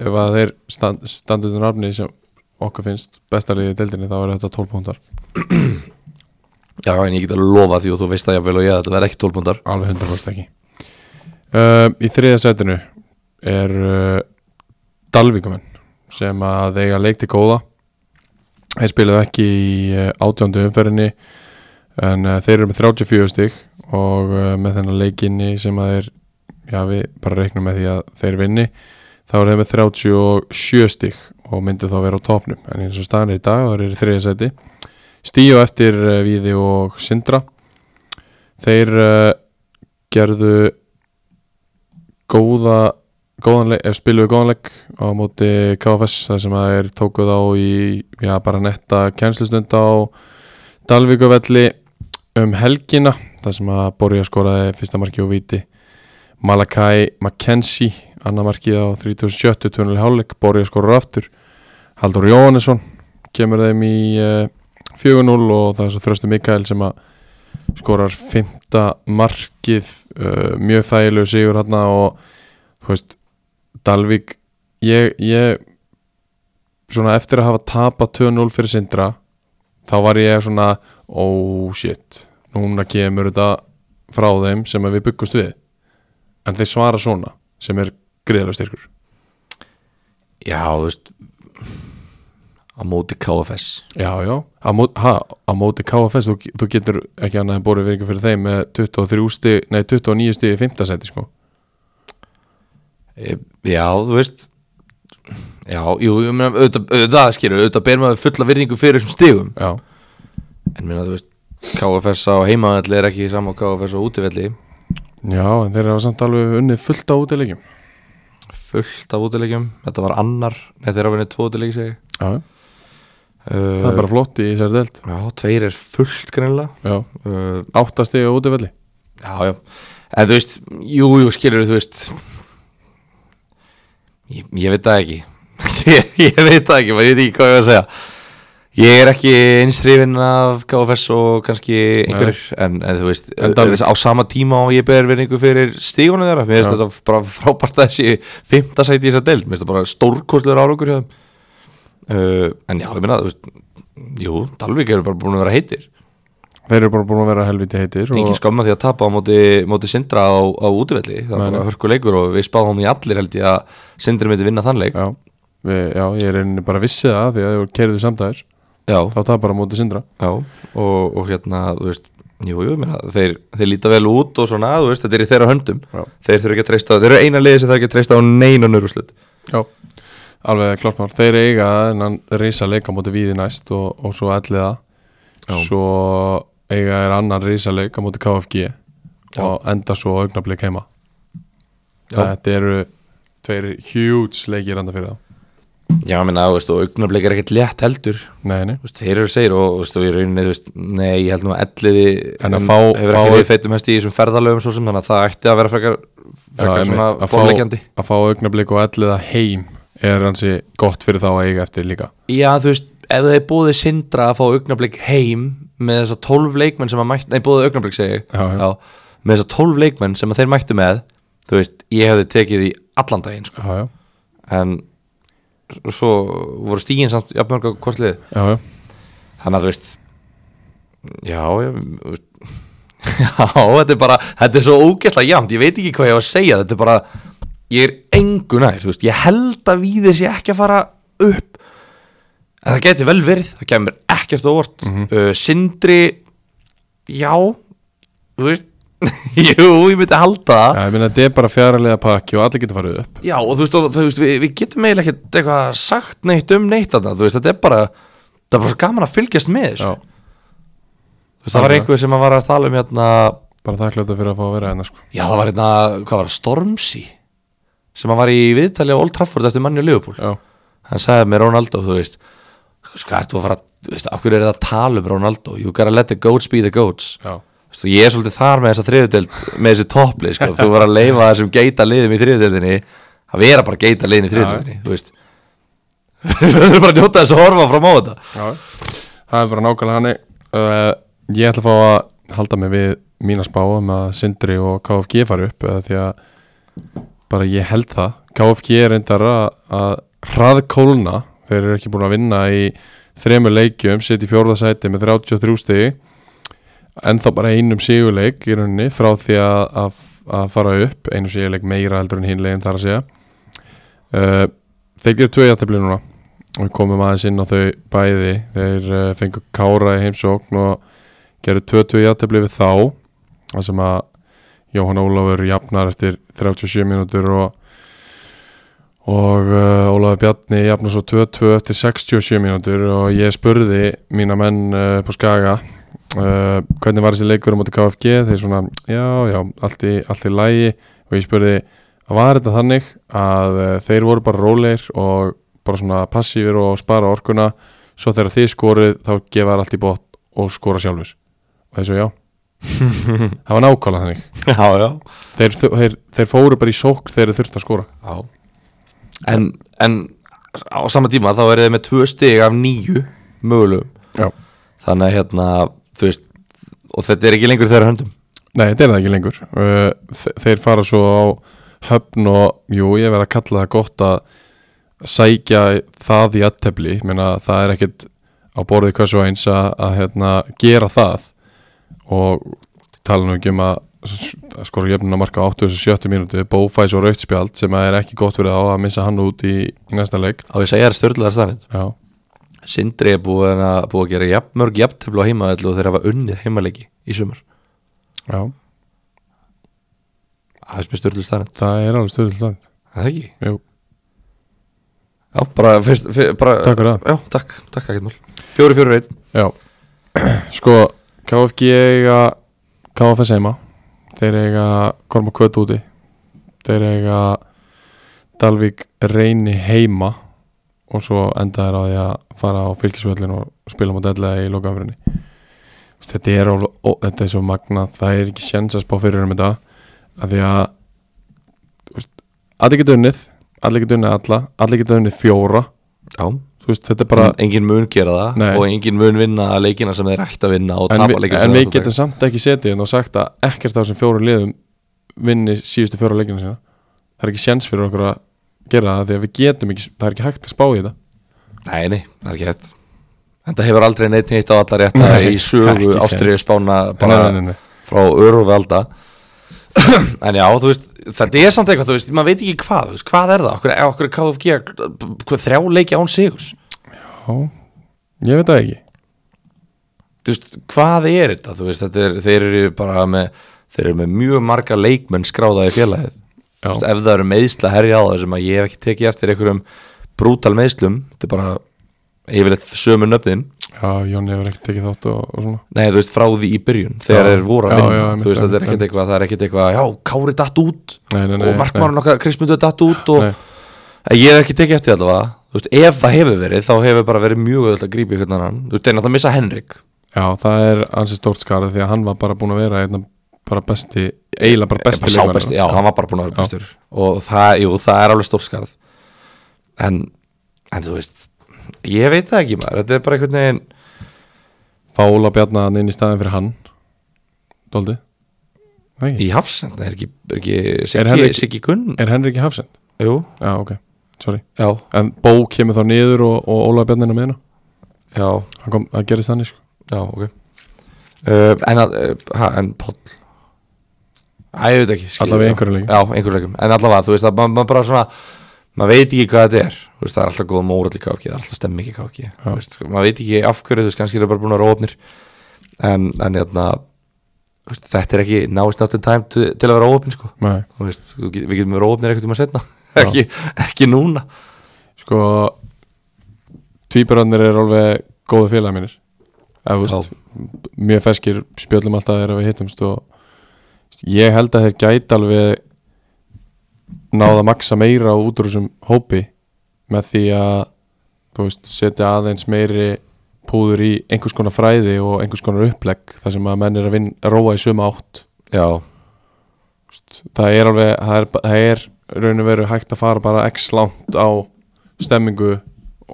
Speaker 2: ef að þeir stand, standuðu nafni sem okkar finnst besta liðið í deildinni þá er þetta 12 púntar
Speaker 3: Já, en ég get að lofa því og þú veist það jáfnvel og ég að þetta verði ekki tólbundar
Speaker 2: alveg 100% ekki uh, Í þriða setinu er uh, Dalvíkumenn sem að eiga leik til góða þeir spilaðu ekki í uh, átjándu umferðinni en uh, þeir eru með 34 stig og uh, með þennan leikinni sem að þeir já við bara reiknum með því að þeir vinni þá eru þeir með 37 stig og myndu þá vera á topnum en eins og staðan er í dag, það eru þriða seti stíu eftir uh, Víði og Sindra þeir uh, gerðu góða góðanleik, eða spiluðu góðanleik á móti KFS þar sem að þeir tókuð á í já, bara netta kænslustund á Dalvíkuvelli um helgina þar sem að Borja skoraði fyrsta marki og viti Malakai McKenzie annar markið á 37. tunnel hálfleik Borja skorar aftur Haldur Jóhannesson kemur þeim í uh, 4-0 og það er svo þröstu Mikael sem að skorar fymta markið uh, mjög þægilegu sigur hérna og þú veist Dalvik ég, ég svona eftir að hafa tapað 2-0 fyrir Sindra þá var ég svona oh shit, núna kemur þetta frá þeim sem að við byggust við en þeir svara svona sem er greiðlega styrkur
Speaker 3: Já, þú veist Á móti KFS
Speaker 2: já, já, á móti, ha, á móti KFS þú, þú getur ekki annað en borðið virðingu fyrir þeim með 23 stig, nei 29 stig í 5. seti sko
Speaker 3: E, Já, þú veist Já, jú, ég meina auðvitað, auðvitað skilur, auðvitað ber maður fulla virðingu fyrir þessum stigum
Speaker 2: já,
Speaker 3: En meina, þú veist, KFS á heimavelli er ekki saman KFS á útivelli
Speaker 2: Já, en þeir eru samt alveg unnið fullt á útilegjum
Speaker 3: Fullt af útilegjum, þetta var annar Nei, þeir eru að vinna tvo útilegji segi
Speaker 2: Já,
Speaker 3: uh,
Speaker 2: það er bara flott í þessari delt
Speaker 3: Eh, Já, tveir er fullt greinlega
Speaker 2: Já,
Speaker 3: uh,
Speaker 2: áttastegi á útivelli
Speaker 3: Já, já, en þú veist, jú, jú, skilur þú veist Ég, ég veit það ekki ég, ég veit það ekki, maður ég veit ekki hvað ég var að segja Ég er ekki eins hrifinn af KFS og kannski einhverjir en, en þú veist,
Speaker 2: En
Speaker 3: ö-
Speaker 2: Dalvík?
Speaker 3: ö- á sama tíma og ég ber verðingu fyrir stígunum þeirra Mér finnst
Speaker 2: Já.
Speaker 3: þetta bara frábært að þessi fimmta sæti í þessa deild, mér finnst þetta bara stórkostlegur árangur hjá þeim uh, En já, ég minna, þú veist, jú, Dalvík eru bara búin að vera heitir
Speaker 2: Þeir eru bara búin að vera helviti heitir
Speaker 3: engin
Speaker 2: og,
Speaker 3: skamma því að tapa á móti, móti Sindra á, á útivelli, það
Speaker 2: Nei,
Speaker 3: var
Speaker 2: nei.
Speaker 3: bara hörku leikur og við spáðum í allir held ég að Sindri myndi vinna þann leik
Speaker 2: já, við, já, ég er einnig bara vissið það því að þeir kerðu samdæðis
Speaker 3: já,
Speaker 2: þá tapar að móti sindra
Speaker 3: já og, og hérna, þú veist jú, jú, minna, þeir, þeir líta vel út og svona, þú veist, þetta er í þeirra höndum
Speaker 2: Já.
Speaker 3: þeir þurfa ekki að treysta, þeir eru eina liði sem það ekki að treysta á neina nörguslut
Speaker 2: Já, alveg klart mál Þeir eiga en reysa leik á móti víði næst og, og svo elliða
Speaker 3: Já.
Speaker 2: Svo eiga er annan reysa leik á móti KFG og enda svo augnablík heima
Speaker 3: Já.
Speaker 2: þetta eru tveir huge leikir handa fyrir þá
Speaker 3: Já, ég meina, þú veist, og augnablik er ekkert létt heldur
Speaker 2: nei, nei.
Speaker 3: Þú veist, þeir eru segir og, þú veist, og í rauninni, þú veist, nei, ég held nú að elliði
Speaker 2: En að fá-
Speaker 3: hefur
Speaker 2: fá-
Speaker 3: ekki verið feitum hest í þessum ferðalöfum svo sem þannig að það ætti að vera frekar,
Speaker 2: Já,
Speaker 3: frekar
Speaker 2: einmitt,
Speaker 3: svona
Speaker 2: að,
Speaker 3: borlegjandi
Speaker 2: fá, að fá augnablik og elliða heim er hansi gott fyrir þá að eiga eftir líka
Speaker 3: Já, þú veist, ef þeir búið sindra að fá augnablik heim með þess að 12 leikmenn sem að mætt, nei, búið augnablik segi ég,
Speaker 2: Já, já.
Speaker 3: með þess að 12 leikmenn sem að þeir mættu með þú veist, ég hefði tekið í allan daginn, sko,
Speaker 2: já, já,
Speaker 3: en s- svo voru stígin samt jafnmörg á hvort liðið
Speaker 2: já, já.
Speaker 3: þannig að þú veist já, já þú veist- já, þetta er bara þetta er svo ógæslega jæmt, ég veit ekki hvað ég á að segja þetta er bara, ég er engu nær þú veist, ég held að við þessi ekki að fara upp en það geti vel verið, það kemur ekkert óvart
Speaker 2: Mhm.
Speaker 3: uh, Sindri já, þú veist jú, ég myndi halda það
Speaker 2: Já, ég meina þetta er bara fjárlega pakki og allir getur farið upp
Speaker 3: Já og þú veist, og, þú veist við, við getum eiginlega ekkert eitthvað sagt neitt um neitt þarna, þú veist, þetta er bara það er bara svo gaman að fylgjast með þessu
Speaker 2: já,
Speaker 3: Þú veist, það var einhver sem að var að tala um hérna
Speaker 2: bara þakkláttu fyrir að fá að vera hérna sko.
Speaker 3: já það var hérna, hvað var það, Stormzy sem að var í viðtali á Old Trafford eftir manni og Liverpool
Speaker 2: já,
Speaker 3: hann sagði með Ronaldo, þú veist þú veist, hvað ertu að fara, þú veist, af hverju er það að tala um Ronaldo, you gotta let the goats be the goats
Speaker 2: já,
Speaker 3: Þú veist, og ég er svolítið þar með þessa þriðudeld með þessi topplið, sko, þú var að leifa þessum geita liðum í þriðudeldinni að vera bara geita liðin í þriðudeldinni, þú veist þú verður bara að njóta þess að horfa frá má þetta
Speaker 2: já það er bara nákvæmlega hannig uh, ég ætla að fá að halda mig við mína spáum að Sindri og KFG fari upp eða því að bara ég held það KFG er reyndar að, að hraðkólna þeir eru ekki búin að vinna í þremur leikjum sitt í fjórðasæti með 33 stigi en þá bara einum sigurleik í rauninni frá því að, að, að fara upp einum sigurleik meira heldur en hinlegin þar að segja uh, þeir gerir tvö jættabli núna og við komum aðeins inn á þau bæði þeir uh, fengu Kára í heimsókn og gerðu 22 jættabli við þá það sem að Jóhann Ólafur jafnar eftir 37 mínútur og og uh, Ólafur Bjarni jafnar svo 2-2 eftir 67 mínútur og ég spurði mína menn uh, på Skaga uh, hvernig var þessi leikur um átti KFG þeir svona, já, já, allt í, allt í lægi og ég spurði var þetta þannig að uh, þeir voru bara rólegir og bara svona passífir og spara orkuna svo þegar þið skoruð þá gefa þær allt í bótt og skora sjálfur og þessu já það var nákvæmlega þannig
Speaker 3: já, já
Speaker 2: þeir, þeir, þeir fóru bara í sók þegar þeir þurftu að skora
Speaker 3: Já. En, en á sama tíma þá er þið með tvö stig af nýju mögulegum
Speaker 2: Já.
Speaker 3: þannig að hérna þú veist, og þetta er ekki lengur í þeirra höndum
Speaker 2: Nei, þetta er það ekki lengur Uh, þe- Þeir fara svo á höfn og jú, ég verð að kalla það gott að sækja það í aðtefli, menna það er ekkit á borðið hversu eins að, að hérna, gera það og tala nú ekki um að, að skora jöfnuna marka á 87 mínútu, bófæs og rautspjald sem að er ekki gott fyrir þá að missa hann út í, í næsta leik
Speaker 3: á ég að segja þér störðlega stannit
Speaker 2: Já,
Speaker 3: Sindri er búið að, búið að gera jafn, mörg jafntöflu á heimaðallu og þeir hafa unnið heimaleiki í sumar
Speaker 2: já,
Speaker 3: það er sem er störðlega stannit
Speaker 2: það er alveg stöðið það
Speaker 3: það er ekki
Speaker 2: Jú,
Speaker 3: Já, bara, fyrst, fyrst, bara,
Speaker 2: takk fyrir það
Speaker 3: Já, takk, takk, ekkert mál Fjóri, fjóri, einn
Speaker 2: Já, sko KFG eiga KFS heima þeir eiga Korma Kvöt úti þeir eiga Dalvík reyni heima og svo enda þeir á því að fara á fylgisvöllin og spila mot ellega í lokaafrinni þetta er, alveg, ó, þetta er svo magna það er ekki sjens að spá fyrir um þetta að því að þú veist, allir geta unnið allir geta unnið alla, allir geta unnið fjóra
Speaker 3: Já
Speaker 2: Þú veist, þetta er bara
Speaker 3: bara, Engin mun gera það
Speaker 2: Nei.
Speaker 3: og engin mun vinna leikina sem þeir ætti að vinna og
Speaker 2: en,
Speaker 3: tapa
Speaker 2: vi,
Speaker 3: leikina
Speaker 2: en
Speaker 3: sem þeir ættu
Speaker 2: við
Speaker 3: að
Speaker 2: getum
Speaker 3: taka.
Speaker 2: samt ekki setið hérna og sagt að ekkert af þessum fjórum liðum vinni síðustu fjóra leikina sína það er ekki séns fyrir okkur að gera það því að við getum ekki, það er ekki hægt að spá í þetta
Speaker 3: Nei, nei, það er ekki hægt En það hefur aldrei neitt neitt á alla rétta
Speaker 2: Nei,
Speaker 3: í sögu
Speaker 2: ekki séns.
Speaker 3: Ástriði spána bara
Speaker 2: nei, nei, nei, nei.
Speaker 3: frá örufvelda En já, þú veist, þetta er samt eitthvað, þú veist, maður veit ekki hvað, þú veist, hvað er það? Okkur, okkur er KFG hvað, þrjá leiki án sigus?
Speaker 2: Já, ég veit það ekki
Speaker 3: Þú veist, hvað er þetta? Þú veist, þetta er, þeir eru bara með, þeir eru með mjög marga leikmenn skráða í félagið. Þú veist,
Speaker 2: Já,
Speaker 3: ef það eru meðsla herja á það sem að ég hef ekki tekið eftir einhverjum brútal meðslum, þetta er bara, ég vil eitthvað sömu nöfnin.
Speaker 2: Já, Jóni hefur ekki tekið þátt og, og svona
Speaker 3: Nei, þú veist, frá því í byrjun, þegar
Speaker 2: Já.
Speaker 3: þeir voru að
Speaker 2: Já,
Speaker 3: vinna
Speaker 2: já, einmitt,
Speaker 3: Þú veist, þetta er
Speaker 2: einmitt,
Speaker 3: ekkert
Speaker 2: einmitt.
Speaker 3: eitthvað, það er ekkert eitthvað Já, Kári datt út
Speaker 2: Nei, nei, nei
Speaker 3: og markmann okkar Kristmundur datt út og
Speaker 2: Nei.
Speaker 3: En ég hef ekki tekið eftir allavega Þú veist, ef það hefur verið, þá hefur bara verið mjög öll að grípa í hvernig hann Þú veist, þeir náttúrulega missa Henrik
Speaker 2: Já, það er ansi stórt skarið því að hann var bara búin að vera einna bara besti, eiginlega bara besti
Speaker 3: Eh, Bara sá besti, já, hann var bara búin að vera
Speaker 2: Já.
Speaker 3: bestur Og það, jú, það er alveg stórskarð En, en þú veist Ég veit það ekki maður, þetta er bara einhvern veginn
Speaker 2: Fá Óla Bjarnan inn í staðin fyrir hann Dóldi Nei,
Speaker 3: Í hafsend, er ekki, er ekki Siggi,
Speaker 2: Er Henrik-
Speaker 3: Siggi Gunn
Speaker 2: er Henrik í Hafsend?
Speaker 3: Jú,
Speaker 2: Já, ok, sorry
Speaker 3: já,
Speaker 2: En Bó kemur þá niður og, og Óla Bjarnan er með hérna
Speaker 3: já,
Speaker 2: Hann kom, það gerist þannig sko
Speaker 3: já, ok uh, En að, uh, ha, en Páll Æ, ég veit ekki skil-
Speaker 2: Allavega í einhverju leik.
Speaker 3: Já, einhverju leikum, en allavega, þú veist að maður maður bara svona maður veit ekki hvað þetta er þú veist, það er alltaf góð móral í káki, það er alltaf stemming í káki þú veist, maður veit ekki af hverju, þú veist, kannski er það bara búin að rófnir en, en jæna, veist, þetta er ekki náist náttu time to, til að vera óöfnir sko.
Speaker 2: Nei
Speaker 3: Þú veist, þú get, við getum verið óöfnir eitthvað um að setna ekki, ekki núna
Speaker 2: Sko Tvíburarnir er alveg góðu félagi mínir Eða, þú veist, Mjög ferskir spjöllum alltaf þegar við hittumst og þú veist, ég held að þeir gæti alveg náða að maksa meira út úr þessum hópi með því að þú veist, setja aðeins meiri púður í einhvers konar fræði og einhvers konar upplegg þar sem að menn er að, vin, að róa í sömu átt
Speaker 3: já,
Speaker 2: það er alveg það er, það er raun og veru hægt að fara bara x langt á stemmingu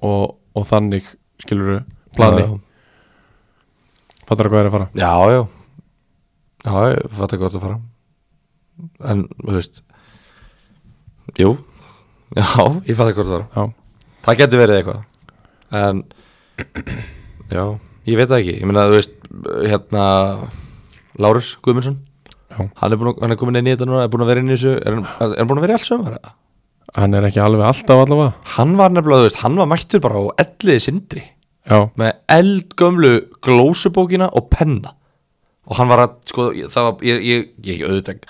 Speaker 2: og, og þannig skilur plani,
Speaker 3: já,
Speaker 2: fattar hvað er að fara
Speaker 3: já, já já, ég fattar hvað þú ert að fara en, þú veist jú já, ég fattar hvað þú ert að fara
Speaker 2: já,
Speaker 3: Það getur verið eitthvað En Já, ég veit það ekki Ég meina, þú veist, hérna Lárus Guðmundsson
Speaker 2: Já.
Speaker 3: Hann er, búin, að- hann er komin inn í þetta núna, er búin að vera inn í þessu Er hann, er hann búin að vera í alls sömur?
Speaker 2: hann er ekki alveg alltaf allavega
Speaker 3: Hann var nefnilega, þú veist, hann var mættur bara á elliði sindri
Speaker 2: já,
Speaker 3: Með eldgömlu glósubókina og penna Og hann var að, sko, ég- það var, ég, ég, ég auðvitað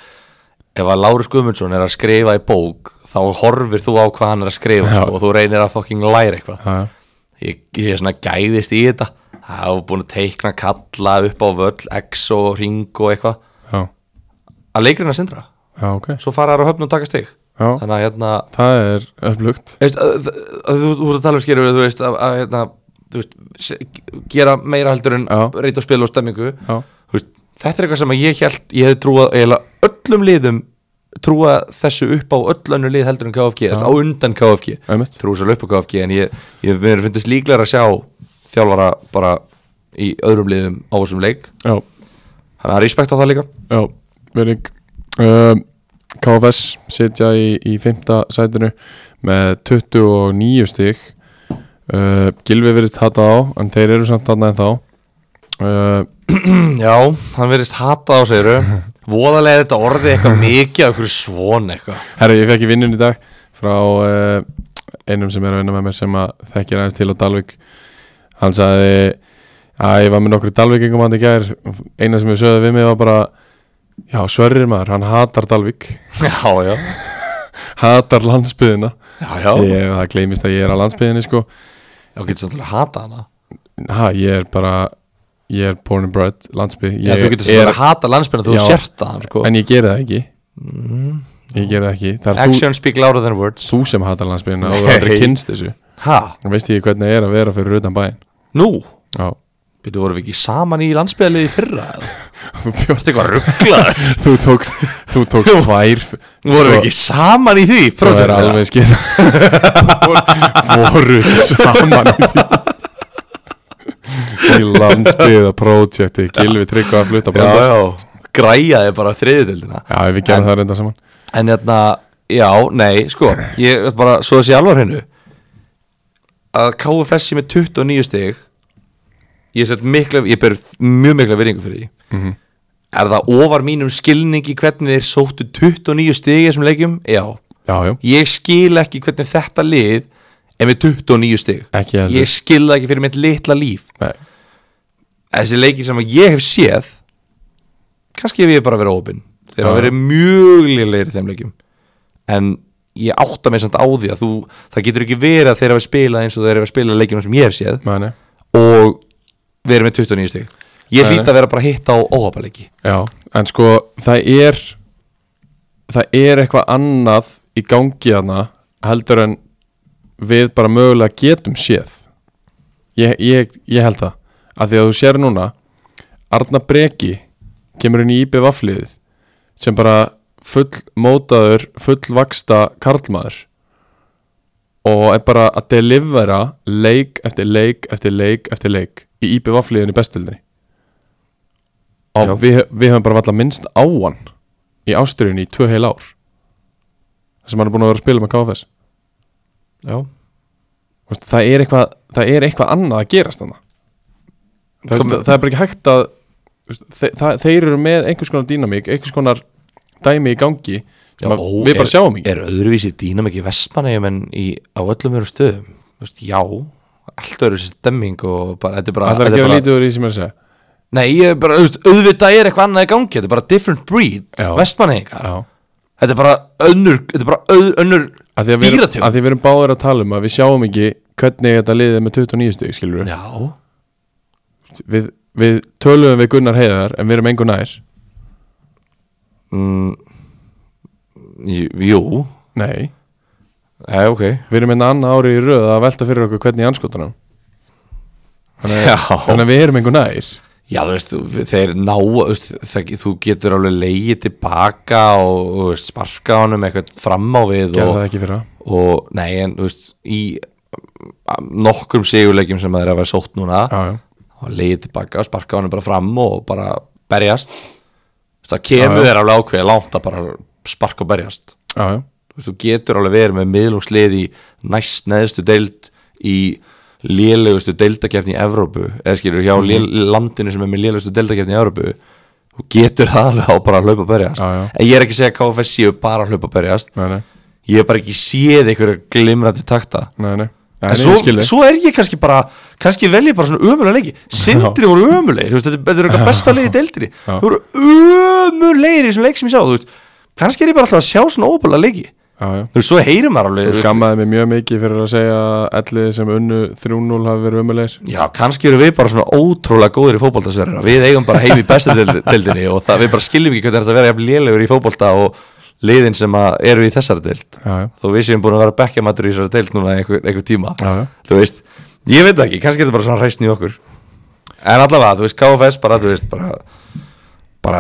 Speaker 3: Ef að Lárus Guðmundsson er að skrifa í bók Þá horfir þú á hvað hann er að skrifa
Speaker 2: Já.
Speaker 3: sko, Og þú reynir að fucking læra eitthvað
Speaker 2: já, já.
Speaker 3: ég, ég er svona gæðist í þetta það var búin að teikna kalla upp á völl, X og ring og eitthvað
Speaker 2: já,
Speaker 3: að leikurinn að sindra,
Speaker 2: já, ok
Speaker 3: svo fara þær á höfn og taka stig
Speaker 2: já,
Speaker 3: þannig að hérna
Speaker 2: það er öflugt
Speaker 3: veist, að, að, að, þú, þú ert að tala um skeru þú veist að, að hérna þú veist, se- gera meira heldur en
Speaker 2: Já.
Speaker 3: reyta og spila og stemmingu
Speaker 2: já,
Speaker 3: Þú veist, þetta er eitthvað sem að ég held ég hef trúað eiginlega öllum liðum trúa þessu upp á öll önnu lið heldur en KFG, á undan KFG
Speaker 2: einmitt
Speaker 3: trú svo löppu KFG en ég, ég mér finnst líklega að sjá þjálfara bara í öðrum liðum á þessum leik
Speaker 2: já,
Speaker 3: þannig að respekt á það líka
Speaker 2: já, verið um, KFS sitja í, í fimmta sætinu með 29 stík uh, Gilvi verið tata á en þeir eru samt þarna en þá uh,
Speaker 3: já, hann verðist hata á segiru voðalega er þetta orðið eitthvað mikið okkur svona eitthvað
Speaker 2: Herra, ég fekk í vinnun í dag frá uh, einum sem er að vinna með mér sem að þekkir aðeins til á Dalvik hann sagði að ég var með nokkru Dalvíkingum hann í gær eina sem ég sögði við mig var bara já, Sverrir maður, hann hatar Dalvík
Speaker 3: já, já,
Speaker 2: hatar landsbyðina
Speaker 3: já, já
Speaker 2: ég, það gleymist að ég er á landsbyðinni sko
Speaker 3: já, getur svolítið að hata hana
Speaker 2: ha, ég er bara ég er born and bred landsbyð
Speaker 3: já,
Speaker 2: ég
Speaker 3: þú getur svolítið
Speaker 2: er,
Speaker 3: að hata landsbyrna þú
Speaker 2: Já.
Speaker 3: sérta hann sko
Speaker 2: en ég geri það ekki ég geri það ekki það er þú,
Speaker 3: Mhm. action speak louder than words
Speaker 2: þú sem hatar landsbyðina og þú er
Speaker 3: Nei.
Speaker 2: aldrei kynst þessu
Speaker 3: ha,
Speaker 2: veist ég hvernig það er að vera fyrir utan bæinn
Speaker 3: nú
Speaker 2: Já,
Speaker 3: Býtu, vorum við ekki saman í landsbyrðaliði fyrra? Þú
Speaker 2: þú bjóst
Speaker 3: veist eitthvað rugglaður
Speaker 2: Þú tókst, þú tókst tvær
Speaker 3: Vorum við ekki saman í því?
Speaker 2: Sko- Það er
Speaker 3: prófdurina?
Speaker 2: alveg skil Voru ekki saman í því Í landsbyða projekti Gilvi tryggva að fluta
Speaker 3: já,
Speaker 2: branda Já,
Speaker 3: já, græjaði bara þriðutöldina
Speaker 2: við gerum það reynda saman
Speaker 3: en hérna, já, nei, sko ég er bara, svo þessi alvar hennu að KFS sem er 29 stig ég set mikla, ég ber mjög mikla virðingu fyrir því
Speaker 2: Mhm.
Speaker 3: er það ofar mínum skilningi hvernig þeir sóttu 29 stig í þessum leikjum? Já,
Speaker 2: Já, já,
Speaker 3: ég skil ekki hvernig þetta lið er með 29 stig
Speaker 2: Ekki heldur.
Speaker 3: ég skil það ekki fyrir mitt litla líf
Speaker 2: nei,
Speaker 3: þessi leikir sem að ég hef séð kannski hef ég bara verið ópin þeir hafa
Speaker 2: Já.
Speaker 3: verið mjög lélegir í þeim leikjum en ég átta mig samt á því að þú, það getur ekki verið að þeir hafa spilað eins og þeir hafa spilað leikjum sem ég hef séð
Speaker 2: maður nei
Speaker 3: og við erum með 29 stig ég
Speaker 2: Nei,
Speaker 3: hlýt
Speaker 2: nei.
Speaker 3: að vera bara hitt á óhapaleiki
Speaker 2: Já, en sko það er það er eitthvað annað í gangi þarna heldur en við bara mögulega getum séð ég, ég, ég held það að því að þú sér núna Arna Breki kemur inn í IB vafliðið sem bara full mótaður fullvaksta karlmaður og er bara að delivera leik eftir leik eftir leik eftir leik í IB vafliðinu í bestöldinni
Speaker 3: Já.
Speaker 2: og við, við höfum bara vallað minnst á hann í ástriðinu í tvö heil ár þar sem hann er búin að vera að spila með KFS
Speaker 3: já.
Speaker 2: Þú veist, það er eitthvað það er eitthvað annað að gerast þannig það,
Speaker 3: Kom-
Speaker 2: það, það er bara ekki hægt að þú veist, þe það, þeir eru með einhvers konar dýnamík einhvers konar dæmi í gangi sem að
Speaker 3: ó,
Speaker 2: við bara
Speaker 3: er-
Speaker 2: sjáum ekki
Speaker 3: er öðruvísi dýnam ekki vestmanægjum en í, á öllum veru stöðum Þú veist, já, allt öðru sér stemming og bara, þetta er bara,
Speaker 2: Það er
Speaker 3: þetta
Speaker 2: að
Speaker 3: er
Speaker 2: gera
Speaker 3: bara
Speaker 2: lítið úr því sem ég er að segja
Speaker 3: nei, ég er bara, þú veist, auðvitað er eitthvað annað í gangi þetta er bara different breed
Speaker 2: Já.
Speaker 3: vestmanægjingar,
Speaker 2: Já.
Speaker 3: þetta er bara önnur, þetta er bara öð, önnur
Speaker 2: að því að við,
Speaker 3: Dýrategund.
Speaker 2: að því að við erum báðir að tala um að við sjáum ekki hvernig þetta liðið er með 29 stík skilur við.
Speaker 3: já,
Speaker 2: við við töluðum við Gunnar Heiðar en við erum engu nær
Speaker 3: mm, j- jú
Speaker 2: nei,
Speaker 3: Já, ok
Speaker 2: við erum einna annað árið í röð að velta fyrir okkur hvernig í anskotunum þannig,
Speaker 3: Já.
Speaker 2: að- þannig að við erum engu nær
Speaker 3: Já, þú veist, þú- þeir ná þú veist, það, þú getur alveg leiðið tilbaka og þú veist, sparka honum eitthvað fram á við
Speaker 2: gerðu
Speaker 3: og,
Speaker 2: það ekki fyrir það
Speaker 3: og nei, en þú veist í um, nokkrum sigurleikjum sem það er að vera sótt núna
Speaker 2: Já, já.
Speaker 3: og leiðið tilbaka og sparka honum bara fram og bara berjast Þú veist, það kemur
Speaker 2: Já, já.
Speaker 3: þér alveg ákveðið langt að bara sparka og berjast
Speaker 2: Já, já.
Speaker 3: Þú veist, þú getur alveg verið með miðlungslið í næst neðstu deild í lélegustu deildakefni í Evrópu, eða skilur hjá
Speaker 2: Mhm.
Speaker 3: mm. landinu sem er með lélegustu deildakefni í Evrópu þú getur það alveg á bara að hlaupa að berjast
Speaker 2: Já, já.
Speaker 3: en ég er ekki að segja að KFS séu bara að hlaupa að berjast
Speaker 2: Nei, nei,
Speaker 3: ég er bara ekki séð einhverja glimrandi takta
Speaker 2: nei, nei. nei
Speaker 3: En
Speaker 2: nei,
Speaker 3: svo,
Speaker 2: ég skil þig.
Speaker 3: svo er ég kannski bara kannski vel ég bara svona ömulega leiki Sindri voru ömulegir, þú veist, þetta þetta eru eitthvað besta leið í deildinni,
Speaker 2: Já.
Speaker 3: þú voru ömulegir í þessum leik sem ég sá, þú veist kannski er ég bara alltaf að sjá svona óbúlega leiki
Speaker 2: Já, já.
Speaker 3: Þú veist, svo heyrir maður alveg
Speaker 2: Þú
Speaker 3: þú veist,
Speaker 2: skammaði mig mjög mikið fyrir að segja að ellið sem unnu 3-0 hafi verið umulegir
Speaker 3: Já, kannski eru við bara svona ótrúlega góðir í fótboltasverðina Við eigum bara heim í bestu deild- deildinni og það, við bara skiljum ekki hvernig þetta er að vera jafn lélegur í fótbolta og liðin sem að eru í þessari deild
Speaker 2: Já, já.
Speaker 3: Þó við séum búin að vera bekkjamatur í þessari deild núna í einhver, einhver tíma
Speaker 2: Já, já.
Speaker 3: Þú veist, ég veit það ekki, kannski er þetta bara svona hræstn í okkur En allavega, þú veist, KFS bara, þú veist, bara bara,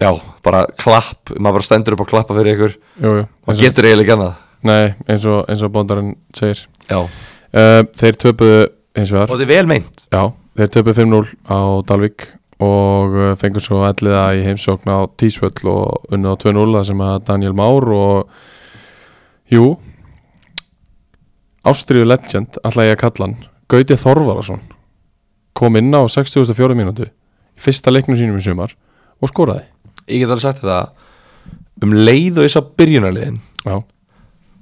Speaker 3: já, bara klapp maður bara stendur upp og klappa fyrir ykkur
Speaker 2: Jú, jú
Speaker 3: og
Speaker 2: eins og,
Speaker 3: getur eiginlega ekki annað
Speaker 2: Nei, eins og, eins og bóndarinn segir
Speaker 3: Já,
Speaker 2: uh, Þeir töpuðu hins
Speaker 3: og
Speaker 2: vegar
Speaker 3: þetta er vel meint
Speaker 2: Já, þeir töpuðu 5-0 á Dalvík og uh, fengur svo elliða í heimsókn á Tísvöll og unnuð á 2-0 þar sem að Daniel Már og Jú Ástriðu legend, alltaf ég að kalla hann Gauti Þorvarason kom inn á 64. mínútu í fyrsta leiknum sínum í sumar og skoraði
Speaker 3: ég get alveg sagt þetta um leið og ég sá byrjunarliðin
Speaker 2: Já,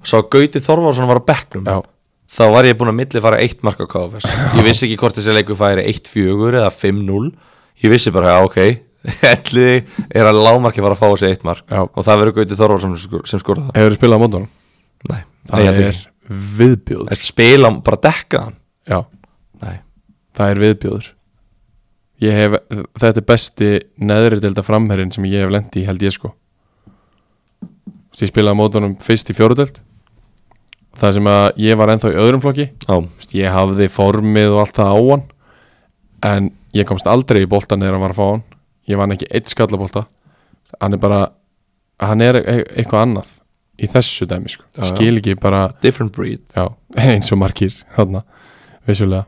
Speaker 3: sá Gauti Þorvarsson var á bekknum
Speaker 2: já,
Speaker 3: þá var ég búinn að milli fara eitt mark á KFS ég vissi ekki hvort þessi leikur færi 1-4 eða 5-0 ég vissi bara, já ok ætliði er að lágmarki fara að fá þessi eitt mark
Speaker 2: já
Speaker 3: og það verður Gauti Þorvarsson sem skor- sem skoraði það
Speaker 2: Hefur þið spilað á mótunum?
Speaker 3: nei, nei,
Speaker 2: Það
Speaker 3: ég held
Speaker 2: er viðbjóður
Speaker 3: ekki. spila, bara dekka hann
Speaker 2: Já,
Speaker 3: nei,
Speaker 2: það er viðbjóður Ég hef, þetta er besti neðri delda framherrin sem ég hef lendi í held ég sko Þú veist, Ég spilaði á mótunum fyrst í fjórudeld Það sem að ég var ennþá í öðrum flokki
Speaker 3: já,
Speaker 2: Þú veist, Ég hafði formið og allt það á hann En ég komst aldrei í boltan þegar hann var að fá hann Ég vann ekki eitt skallabolta Hann er bara, hann er e- eitthvað annað Í þessu dæmi sko
Speaker 3: Já, já.
Speaker 2: Skil ekki bara
Speaker 3: different breed
Speaker 2: Já, eins og margir þarna, vissulega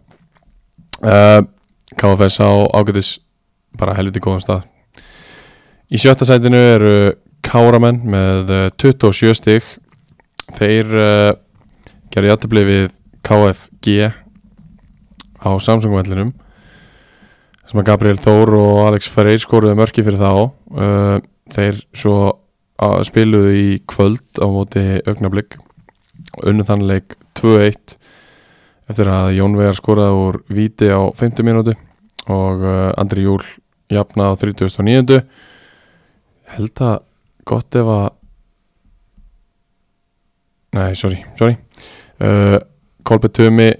Speaker 2: uh, KFS á ágætis bara helviti góðum stað Í sjötta sætinu eru Káramenn með eh, 27 stig Þeir uh, gerði aðtöfli við KFG á Samsung-vellinum sem að Gabriel Þór og Alex Ferreir skoruðu mörki fyrir þá uh, Þeir svo uh, spiluðu í kvöld á móti augnablík og unnu þann leik 2-1 eftir að Jón Vegar skoraði úr víti á 50 mínútu og uh, Andri Júl jafnaði á 39. Held að gott ef að Nei, sorry, sorry uh, Kolbett Tumi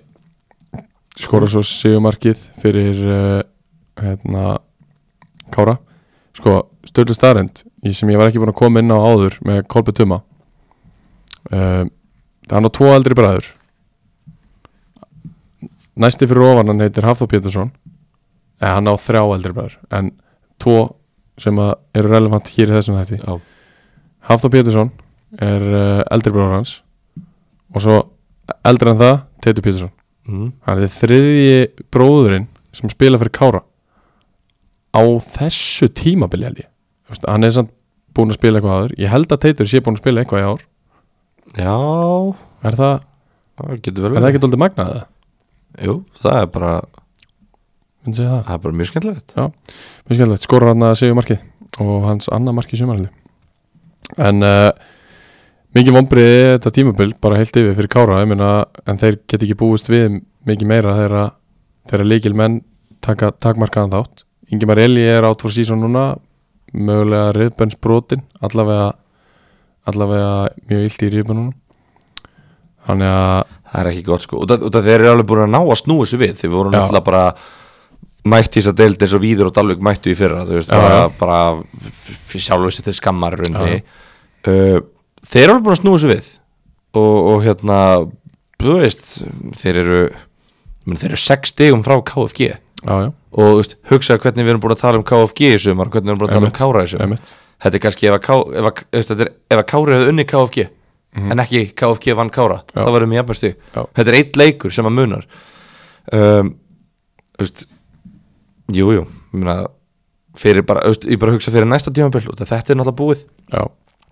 Speaker 2: skora svo sigumarkið fyrir uh, hérna Kára sko, stöðlu starrend sem ég var ekki búin að koma inn á áður með Kolbe Tuma uh, hann á tvo eldri bræður næsti fyrir ofan hann heitir Hafþór Pétursson eða hann á þrjá eldri bræður en tvo sem að eru relevant hér í þessum þætti
Speaker 3: Já.
Speaker 2: Hafþór Pétursson er uh, eldri bróður hans og svo eldri en það Teitur Pétursson
Speaker 3: Mm.
Speaker 2: hann er þriðji bróðurinn sem spila fyrir Kára á þessu tímabili held ég Þú veist, hann er samt búin að spila eitthvað áður ég held að Teitur sé búin að spila eitthvað í ár
Speaker 3: Já,
Speaker 2: er það,
Speaker 3: það getur vel
Speaker 2: er það ekki doldið magnað það?
Speaker 3: Jú, það er bara,
Speaker 2: Myndi segja það
Speaker 3: það er bara mjög skemmtilegt
Speaker 2: Mjög skemmtilegt, skorur hann að segja um markið og hans annað markið sumarhaldi en uh, mikið vombriði þetta tímabil bara heilt yfir fyrir Kára ég meina, en þeir get ekki búist við mikið meira þegar að- þegar leikil menn taka takmarkaðan þátt Ingemar Eli er átt fór sísón núna mögulega riðbensbrotin allavega, allavega mjög illt í riðbennunum þannig að
Speaker 3: Það er ekki gott sko, og það, og það þeir eru alveg búin að ná að snúa þessu við Þeir voru
Speaker 2: Já.
Speaker 3: náttúrulega bara mætt í þess að deild eins og Víður og Dalvik mættu í fyrra Þú veist,
Speaker 2: Já,
Speaker 3: bara,
Speaker 2: já.
Speaker 3: bara fyrir sjálfur sér til skammar í rauninni
Speaker 2: Já.
Speaker 3: uh, Þeir eru alveg búin að snúa þessu við Og, og hérna, þú veist, þeir eru, menn, þeir eru sex stigum frá KFG
Speaker 2: já, já,
Speaker 3: og þú veist, hugsa hvernig við erum búin að tala um KFG í sumar, hvernig við erum búin að tala um
Speaker 2: Einmitt,
Speaker 3: Kára í sumar
Speaker 2: einmitt.
Speaker 3: þetta er kannski ef að, Ká, ef að, þú veist, þetta er, ef að Kári hefði unni KFG en ekki KFG vann Kára
Speaker 2: Mhm. Já.
Speaker 3: þá verðum við jafnbæstu,
Speaker 2: Já.
Speaker 3: þetta er eitt leikur sem að munar um, þú veist jújú, jú, ég meina fyrir bara, þú veist, ég bara hugsa fyrir næsta tímabil og þetta er náttúrulega búið
Speaker 2: já,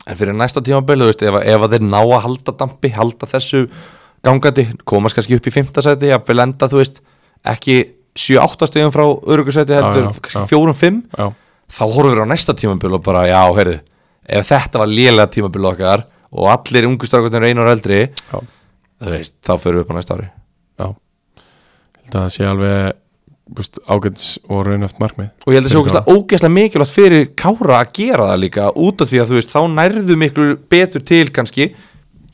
Speaker 3: en fyrir næsta tímabil, þú veist, ef, að- ef að þeir ná að halda dampi, halda þessu gangandi, komast kannski upp í fimmta sæti að enda, þú veist, ekki 7-8 stegum frá örugusæti heldur,
Speaker 2: Já, já,
Speaker 3: kannski
Speaker 2: já.
Speaker 3: 4-5
Speaker 2: já,
Speaker 3: þá horfum við á næsta tímabil og bara, já, heyrðu ef þetta var lélega tímabil okkar og allir ungu strákundin eru einar eldri
Speaker 2: já.
Speaker 3: þú veist, þá fyrir við upp á næsta ári
Speaker 2: Já Held að það sé alveg búst, ágæts og raunöft markmið
Speaker 3: og ég held
Speaker 2: Fyrir
Speaker 3: að það sé ógeðslega- ógeðslega mikilvægt fyrir Kára að gera það líka út af því að þú veist, þá nærðu miklu betur til kannski,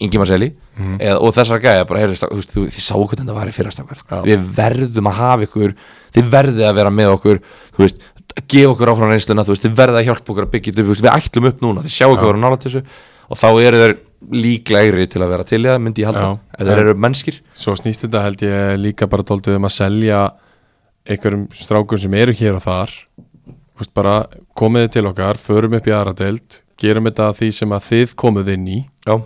Speaker 3: Ingimar Seli eða, og þessar gæja bara, heyrðu, stá- þú veist, þú- þið sáu hvernig þetta var í
Speaker 2: Já.
Speaker 3: fyrrastakar við verðum að hafa ykkur þið verðið að vera með okkur þú veist, að gefa okkur áfram reynsluna þú veist, þið verðið að hjálpa okkur að byggja þetta upp þú veist, við ætlum upp núna, þið sjáu hvað við erum nálægt þessu og þá eru þeir líklegri til að vera til í það, myndi ég halda,
Speaker 2: Já.
Speaker 3: ef þeir
Speaker 2: Já.
Speaker 3: eru mennskir
Speaker 2: Svo snýst þetta held ég líka bara dóltið um að selja einhverjum strákum sem eru hér og þar búst, bara komið þið til okkar förum upp í aðra deild gerum þetta að því sem að þið komuð inn í
Speaker 3: já,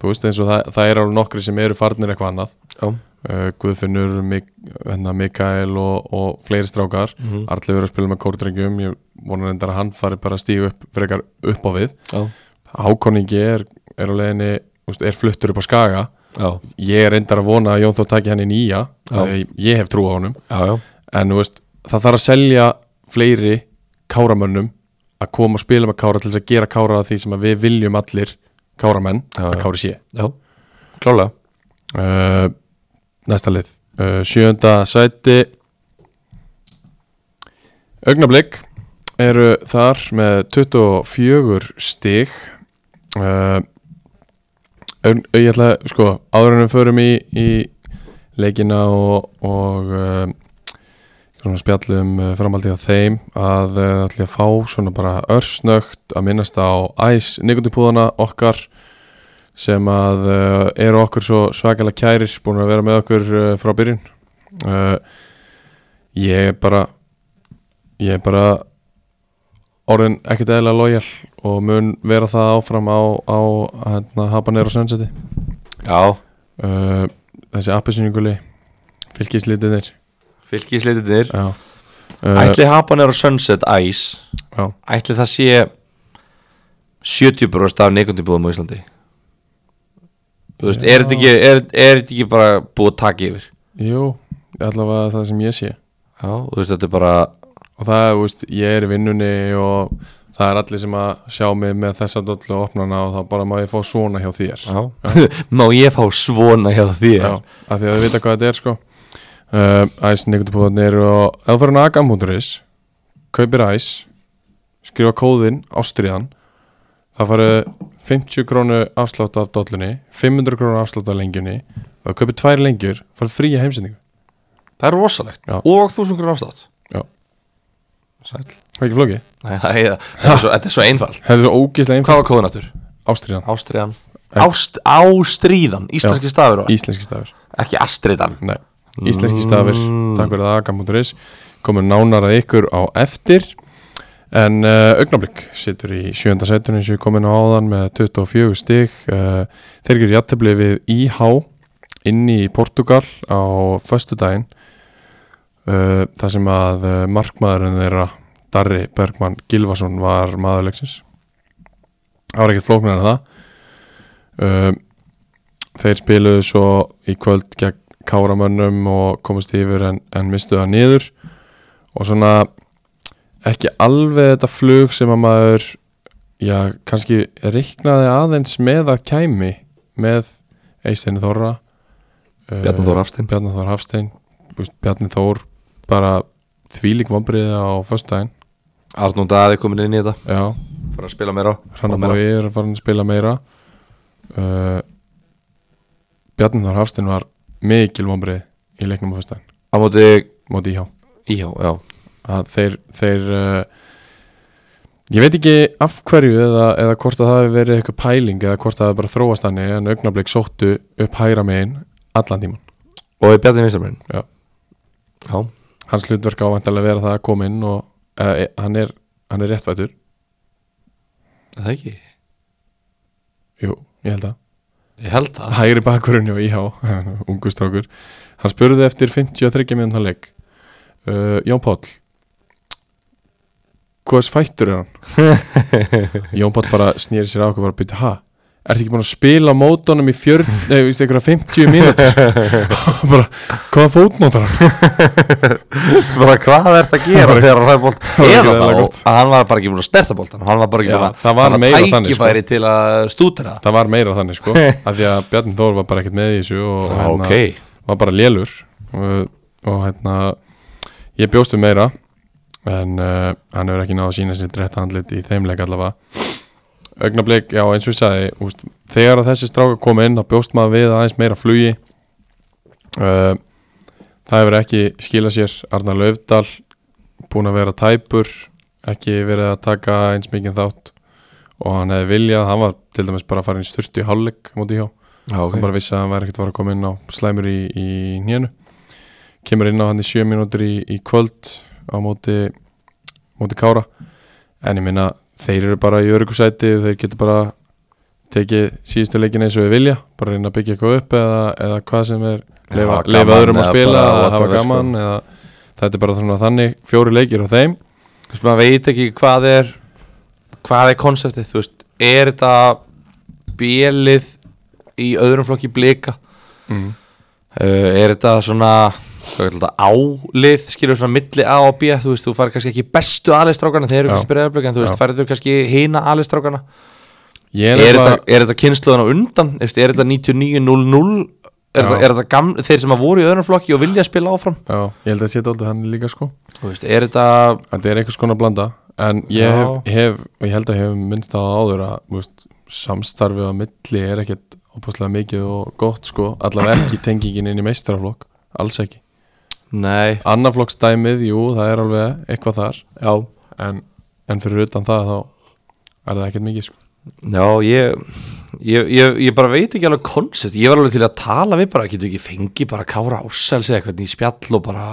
Speaker 2: þú veist eins og það, það er alveg nokkri sem eru farnir eitthvað annað
Speaker 3: já,
Speaker 2: uh, Guðfinnur, Mik hérna, Mikael og, og fleiri strákar mm
Speaker 3: Mhm.
Speaker 2: -hmm. Arleifur að spila með kórdrengjum ég vonar endar að hann fari bara að stíu upp frekar upp á við
Speaker 3: já,
Speaker 2: Hákoningi er, er á leiðinni úst, er fluttur upp á skaga
Speaker 3: já,
Speaker 2: ég er reyndar að vona að Jón Þór taki hann í nýja
Speaker 3: Já.
Speaker 2: þegar ég hef trú á honum
Speaker 3: já, já.
Speaker 2: en þú veist, það þarf að selja fleiri káramönnum að koma og spila með kára til þess að gera kára að því sem að við viljum allir káramenn
Speaker 3: Já,
Speaker 2: að
Speaker 3: já.
Speaker 2: kári sé
Speaker 3: já. klálega
Speaker 2: uh, næsta lið uh, sjönda sæti augnablík eru þar með 24 stig uh, augn, ég ætla að sko áður en við förum í, í leikina og, og uh, svona spjallum uh, framhaldið á þeim að uh, ætla ég að fá svona bara örsnögt að minnast á æs nikotipúðana okkar sem að uh, eru okkur svo svakalega kærir búin að vera með okkur uh, frá byrjun uh, ég er bara ég er bara orðin ekkert eðlilega lojal og mun vera það áfram á, á hérna, Habanero Sunseti
Speaker 3: já,
Speaker 2: uh, þessi appisyninguli fylgislítinir
Speaker 3: fylgisleitinir
Speaker 2: já. Uh,
Speaker 3: Ætli Habanero Sunset Ice
Speaker 2: já,
Speaker 3: Ætli það sé 70% af neikundibúðum á Íslandi Þú veist, er þetta ekki, er, er þetta ekki bara búið að taka yfir
Speaker 2: jú, allavega það sem ég sé
Speaker 3: Já, þú veist, þetta er bara
Speaker 2: og það, þú veist, ég er í vinnunni og það er allir sem að sjá mig með þessa dollu opnana og þá bara má ég fá svona hjá þér já,
Speaker 3: Má ég fá svona hjá þér
Speaker 2: af því að þau vita hvað þetta er sko uh, Æs nektupúðan eru og ef þú fyrir hann agam.is kaupir æs skrifa kóðinn ástriðan það farið 50 krónu afslátt af dollunni 500 krónu afslátt af lengjunni og ef þú kaupir tvær lengjur farið frí að heimsendingu
Speaker 3: það er rosalegt
Speaker 2: Já.
Speaker 3: og þúsungur afslátt
Speaker 2: Já.
Speaker 3: sæl
Speaker 2: Það er ekki flókið
Speaker 3: Nei, það er, það er svo, þetta er svo einfalt
Speaker 2: Það er svo ógeðslega einfalt
Speaker 3: hvað var kóðun aftur?
Speaker 2: Ástriðan
Speaker 3: Ástriðan
Speaker 2: Eh.
Speaker 3: Ást, Ástríðan, íslenski stafur var
Speaker 2: Íslenski stafur
Speaker 3: ekki Astriðan
Speaker 2: Nei, íslenski stafir Takk fyrir það, agam.is Komum nánar að ykkur á eftir En uh, augnablík situr í sjönda setinu eins og ég kom inn á áðan með 24 stig uh, Þeir gerir játtabli við IH inni í Portugal á föstudaginn uh, þar sem að uh, markmaðurinn þeirra Darri Bergmann Gilvason var maðurleiksins Það var ekkert flóknar en það uh, Þeir spiluðu svo í kvöld gegn Káramönnum og komast yfir en, en mistu það niður og svona ekki alveg þetta flug sem að maður já, kannski reiknaði aðeins með að kæmi með Eisteinu Þorra
Speaker 3: Bjarni Þór Hafstein.
Speaker 2: Bjarni Þór Hafstein þú veist, Bjarni Þór bara þvílík vombriði á föstudaginn
Speaker 3: Arnúnd Daði komin inn í þetta
Speaker 2: já,
Speaker 3: fyrir að spila meira og meira.
Speaker 2: Hrannabói er farin að spila meira uh, Bjarni Þór Hafstein var mikil vombrið í leiknum á föstudaginn
Speaker 3: á móti
Speaker 2: móti íhjá
Speaker 3: Íhá, já
Speaker 2: að þeir, þeir uh, ég veit ekki af hverju eða, eða hvort að það hefur verið eitthvað pæling eða hvort að það hefur bara þróast hannig en augnablik sóttu upp hægra megin allan tíman
Speaker 3: og í Bjarni Vinstraminn
Speaker 2: Já.
Speaker 3: já
Speaker 2: hans hlutverk á vantarlega vera það að koma inn og uh, hann, er, hann er réttvættur
Speaker 3: er það ekki
Speaker 2: jú, ég held að
Speaker 3: ég held það
Speaker 2: hægri bakurinn hjá IH, ungu strákur hann spurði eftir 53 minnum hann leik uh, Jón Páll hvers fættur er hann? Jón Páll bara snýri sér á okkur bara byrja, ha? Ertu ekki búin að spila á mótunum í 40, nei, víst, einhverja 50 mínútur Og bara, hvaða fótnótar hann?
Speaker 3: bara hvað er þetta að gera þegar hann ræði bólt
Speaker 2: Bara
Speaker 3: eða
Speaker 2: greiðlega
Speaker 3: þá
Speaker 2: gott.
Speaker 3: að hann var bara ekki búin að sterta bóltan hann var sko. bara ekki
Speaker 2: Já,
Speaker 3: búin að
Speaker 2: það var
Speaker 3: hann
Speaker 2: meira þannig,
Speaker 3: tækifæri til að stútra
Speaker 2: Það var meira þannig sko, af því að Bjarni Þór var bara ekkert með í þessu og
Speaker 3: Já,
Speaker 2: hérna, var bara lélur og, og hérna ég bjóst við meira en uh, hann hefur ekki náð að sína sér drætt handlit í þeim leik allavega augnablik, já eins og ég sagði úst, þegar að þessi stráka kom inn þá bjóst maður við aðeins meira flugi uh, það hefur ekki skilað sér Arnar Laufdal búin að vera tæpur ekki verið að taka eins mikið þátt og hann hefði viljað, hann var til dæmis bara að fara inn styrtu í hálfleik mútið hjá
Speaker 3: já, ok
Speaker 2: hann bara vissi að hann væri ekkert að fara að koma inn á slæmur í, í nýjanu kemur inn á hann í sjö mínútur í, í kvöld á móti, móti Kára en ég minna þeir eru bara í örgusæti þeir getur bara tekið síðustu leikin eins og við vilja bara reyna að byggja eitthvað upp eða, eða hvað sem er
Speaker 3: Já,
Speaker 2: leifa,
Speaker 3: gaman
Speaker 2: leifa öðrum að
Speaker 3: eða
Speaker 2: spila
Speaker 3: bara
Speaker 2: eða hafa
Speaker 3: whatever, sko.
Speaker 2: gaman eða, þetta er bara svona þannig fjóri leikir á þeim
Speaker 3: þú veist, maður veit ekki hvað er hvað er konseptið, þú veist er þetta bjelið í öðrum flokki blika
Speaker 2: mm.
Speaker 3: uh, er þetta svona hvað er þetta, álið, skilur svona milli A og B, þú veist, þú farið kannski ekki bestu alistrákana, þeir eru
Speaker 2: Já.
Speaker 3: kannski breyðarblöka en þú veist,
Speaker 2: Já.
Speaker 3: farið þú kannski hina alistrákana
Speaker 2: ég
Speaker 3: er,
Speaker 2: er
Speaker 3: þetta-
Speaker 2: nefnilega
Speaker 3: er þetta kynsluðan á undan, Þú veist, er þetta 99-0-0 er,
Speaker 2: Já.
Speaker 3: þetta- er þetta gaml, þeir sem að voru í öðrum flokki og vilja að spila áfram,
Speaker 2: já, ég held að sé þetta hann líka sko
Speaker 3: þú veist, er þetta
Speaker 2: Þetta er einhvers konar blanda En ég
Speaker 3: Já.
Speaker 2: hef, hef, og ég held að ég hef minnst á það áður að þú veist, samstarfið á milli er ekkert opaslega mikið og gott sko allavega ekki tengingin inn í meistaraflokk alls ekki.
Speaker 3: nei,
Speaker 2: Annaflokksdæmið, jú, það er alveg eitthvað þar
Speaker 3: já
Speaker 2: en, en fyrir utan það þá er það ekkert mikið sko.
Speaker 3: Já, ég, ég, ég, ég bara veit ekki alveg koncept, ég var alveg til að tala við bara, getur ekki fengið bara Kára Ársæls eða eitthvað í spjall og bara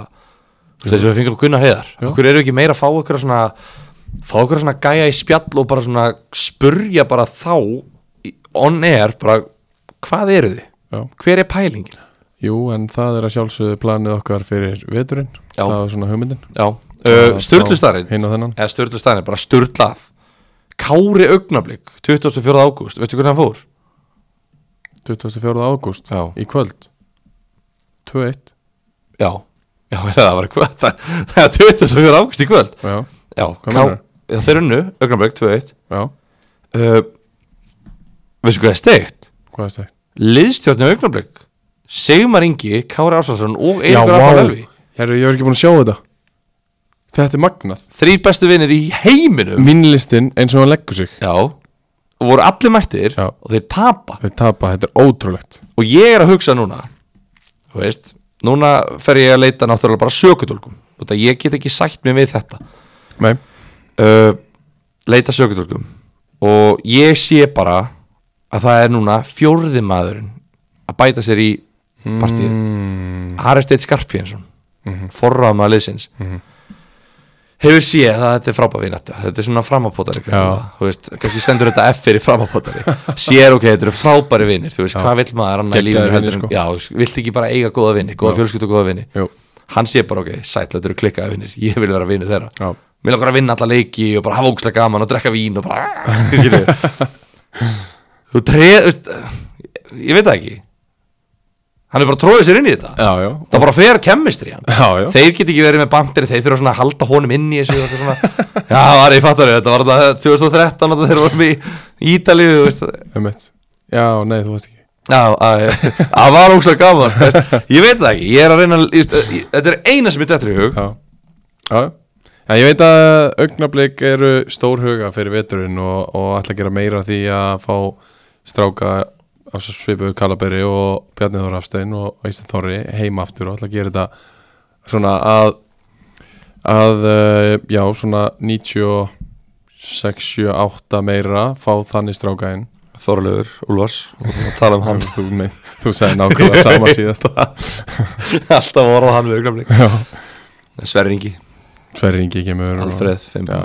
Speaker 3: þess að við fengum Gunnar Heiðar,
Speaker 2: Jú.
Speaker 3: okkur eru ekki meira að fá okkur svona, fá okkur svona gæja í spjall og bara svona spurja bara þá í- on air, bara hvað eru þið,
Speaker 2: Já.
Speaker 3: hver er pælingin?
Speaker 2: Jú, en það er að sjálfsögðu planið okkar fyrir veturinn,
Speaker 3: Já.
Speaker 2: það er svona hugmyndin
Speaker 3: Já, uh, Sturlustarinn,
Speaker 2: Hinn og þennan
Speaker 3: eða Sturlustarinn, bara Sturlað, Kári Augnablík, 24. ágúst, veistu hvernig hann fór?
Speaker 2: 24. ágúst
Speaker 3: Já.
Speaker 2: í kvöld 2-1
Speaker 3: Já, já meina, það var hvað það, það er 20 sem fyrir águst í kvöld
Speaker 2: Já,
Speaker 3: Já,
Speaker 2: Hvað meinarðu?
Speaker 3: já þeir unnu, Ögnabæk 2-1
Speaker 2: já,
Speaker 3: uh, Veistu hvað er steikt?
Speaker 2: hvað er þetta?
Speaker 3: Liðstjórnum Ögnabæk Sigmar Ingi, Kári Ársvarsson og
Speaker 2: Já,
Speaker 3: Eiríkur Arnar Elvi
Speaker 2: Herru, ég er ekki búin að sjá þetta Þetta er magnað
Speaker 3: Þrýr bestu vinir í heiminum
Speaker 2: Mínlistin eins og hann leggur sig
Speaker 3: Já og voru allir mættir
Speaker 2: Já.
Speaker 3: og þeir tapa
Speaker 2: Þeir tapa, þetta er ótrúlegt
Speaker 3: og ég er að hugsa núna þú veist, núna fer ég að leita náttúrulega bara sökutólkum þetta ég get ekki sætt mig við þetta
Speaker 2: Nei,
Speaker 3: uh, leita sökutólkum og ég sé bara að það er núna fjórði maðurinn að bæta sér í partíð
Speaker 2: Mm. Mhm.
Speaker 3: Ari Steinn Skarpínsson mm -hmm. forraðum að liðsins hefur séð að þetta er frábævinata þetta er svona framapótari greinilega. þú veist, kannski stendur þetta F fyrir framapótari sér ok, þetta eru frábæri vinir þú veist, hvað vill maður annað í
Speaker 2: Geggjaðir vinir,
Speaker 3: lífinu heldur en,
Speaker 2: sko.
Speaker 3: já, þú veist, vilt ekki bara eiga góða vini, góða fjölskyldu og góða vini
Speaker 2: jú,
Speaker 3: hann sé bara ok, sæll, þetta eru klikkaði vinnir ég vil vera vinnu þeirra
Speaker 2: Já.
Speaker 3: mér langar að vinna alla leiki og bara hafa ógslag gaman og drekka vín og bara skilurðu. þú treð þú veist, ég veit það ekki hann er bara tróðið sér inn í þetta
Speaker 2: já, já
Speaker 3: það bara fer kemmistri hann
Speaker 2: Já, já.
Speaker 3: þeir get ekki verið með bandiri, þeir þurfa svona að halda honum inn í þessu og svona, já, Ari, ég fattar þetta var þetta 2013 og þeir vorum í Ítalíu, þú veist
Speaker 2: Einmitt. Já, nei, þú veist ekki
Speaker 3: Já, að- það var ógslag gaman veist. ég veit það ekki, ég er að reyna að- ég- þetta er eina sem ég dettur í hug
Speaker 2: Já, já já. En ég veit að augnablík eru stórhuga fyrir veturinn og, og ætla að gera meira af því að fá stráka á svo svipu Kalaberi og Bjarni Þór Hafstein og Ísland Þorri heima aftur og ætla að gera þetta svona að að, eh, já, svona 96, 78 meira fá þannig stráka inn
Speaker 3: Þorlegur, Úlfars, og tala um hann
Speaker 2: þú, nei, þú sagði nákvæmlega sama síðast
Speaker 3: alltaf orðað hann við augnablik
Speaker 2: Já.
Speaker 3: Sverringi,
Speaker 2: Tverringi kemur og-
Speaker 3: Alfreð, fimm
Speaker 2: Já.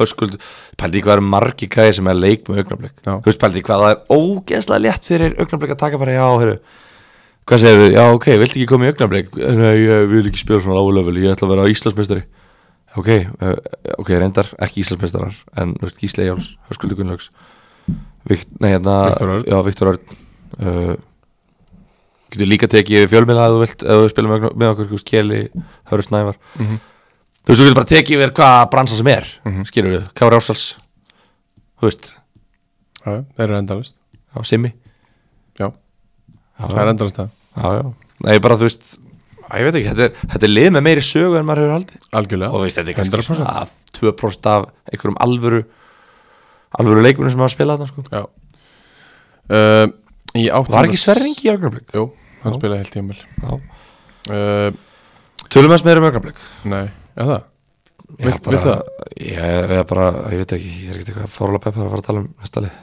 Speaker 3: Höskuld, pældi ég hvað er margi kæði sem er að leik með augnablik
Speaker 2: Já.
Speaker 3: Þú veist, pældi ég hvað það er ógeðslega létt fyrir augnablik að taka bara, já, heyrðu Hvað segir þau, já, ok, viltu ekki koma í augnablik? Nei, ég vil ekki spila svona lágulefil, ég ætla að vera Íslandsmeistari Ok, uh, ok, reyndar, ekki Íslandsmeistarar En, þú veist, Gísli Jáls, Höskuldur Gunnlaugs Vikt, Nei, hérna
Speaker 2: Viktor Örn.
Speaker 3: Já, Viktor Örn uh, Getur líka tekið yfir fjölmiðla ef þú vilt, ef þú spilum með, með okkur, þú veist, Keli, Hörður Snævar þú veist, þú getur bara tekið yfir hvaða bransa sem er mm -hmm. skilur við, Kári Ársals þú veist,
Speaker 2: Já, þeir eru endalist
Speaker 3: á Simmi
Speaker 2: Já,
Speaker 3: já,
Speaker 2: það er endalist það
Speaker 3: já, já, nei, bara þú veist að, ég veit ekki, þetta er, þetta er lið með meiri sögu en maður hefur haldið
Speaker 2: Algjörlega
Speaker 3: og þú veist, þetta er kannski
Speaker 2: 100%.
Speaker 3: svona að 2% af einhverjum alvöru alvöru leikmunum sem hafa spilað þetta sko.
Speaker 2: Já uh, Í áttunda
Speaker 3: var ekki sverringi í augnablik
Speaker 2: Jú, hann spilaði heilt tímil uh,
Speaker 3: tölum við þess meira um augnablik
Speaker 2: Nei, er það?
Speaker 3: Ég
Speaker 2: Vilt-
Speaker 3: bara-
Speaker 2: vilt það?
Speaker 3: ég, ég, er bara, ég veit ekki, ég er ekki eitthvað fórlega peppar að fara að tala um næsta lið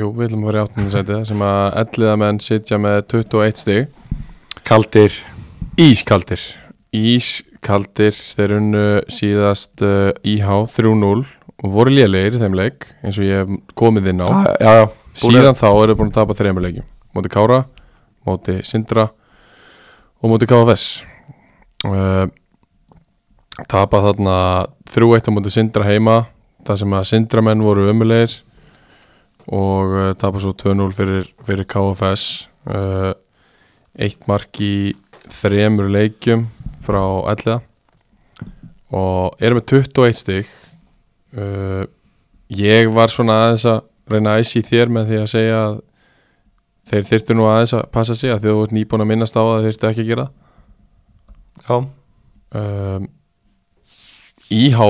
Speaker 2: Jú, við ætlum að fara í áttunda sæti sem að elliðamenn sitja með 21 stig
Speaker 3: kaldir,
Speaker 2: Ískaldir Ískaldir, þeir unnu síðast uh, IH 3-0 og voru lélegir í þeim leik eins og ég hef komið inn á
Speaker 3: Ah, já, já, já búnir-
Speaker 2: Síðan þá eru búin að tapa þreymur leikjum Móti Kára, móti Sindra og móti KFS uh, Tapa þarna 3-1 á móti Sindra heima Það sem að Sindramenn voru ömulegir og uh, tapa svo 2-0 fyrir, fyrir KFS uh, Eitt mark í þremur leikjum frá elliða og eru með 21 stig uh, ég var svona aðeins að reyna að æsi í þér með því að segja að þeir þyrtu nú aðeins að passa sig að því að þú ert nýbúin að minnast á að þeir þyrtu ekki að gera
Speaker 3: já,
Speaker 2: um, Íhá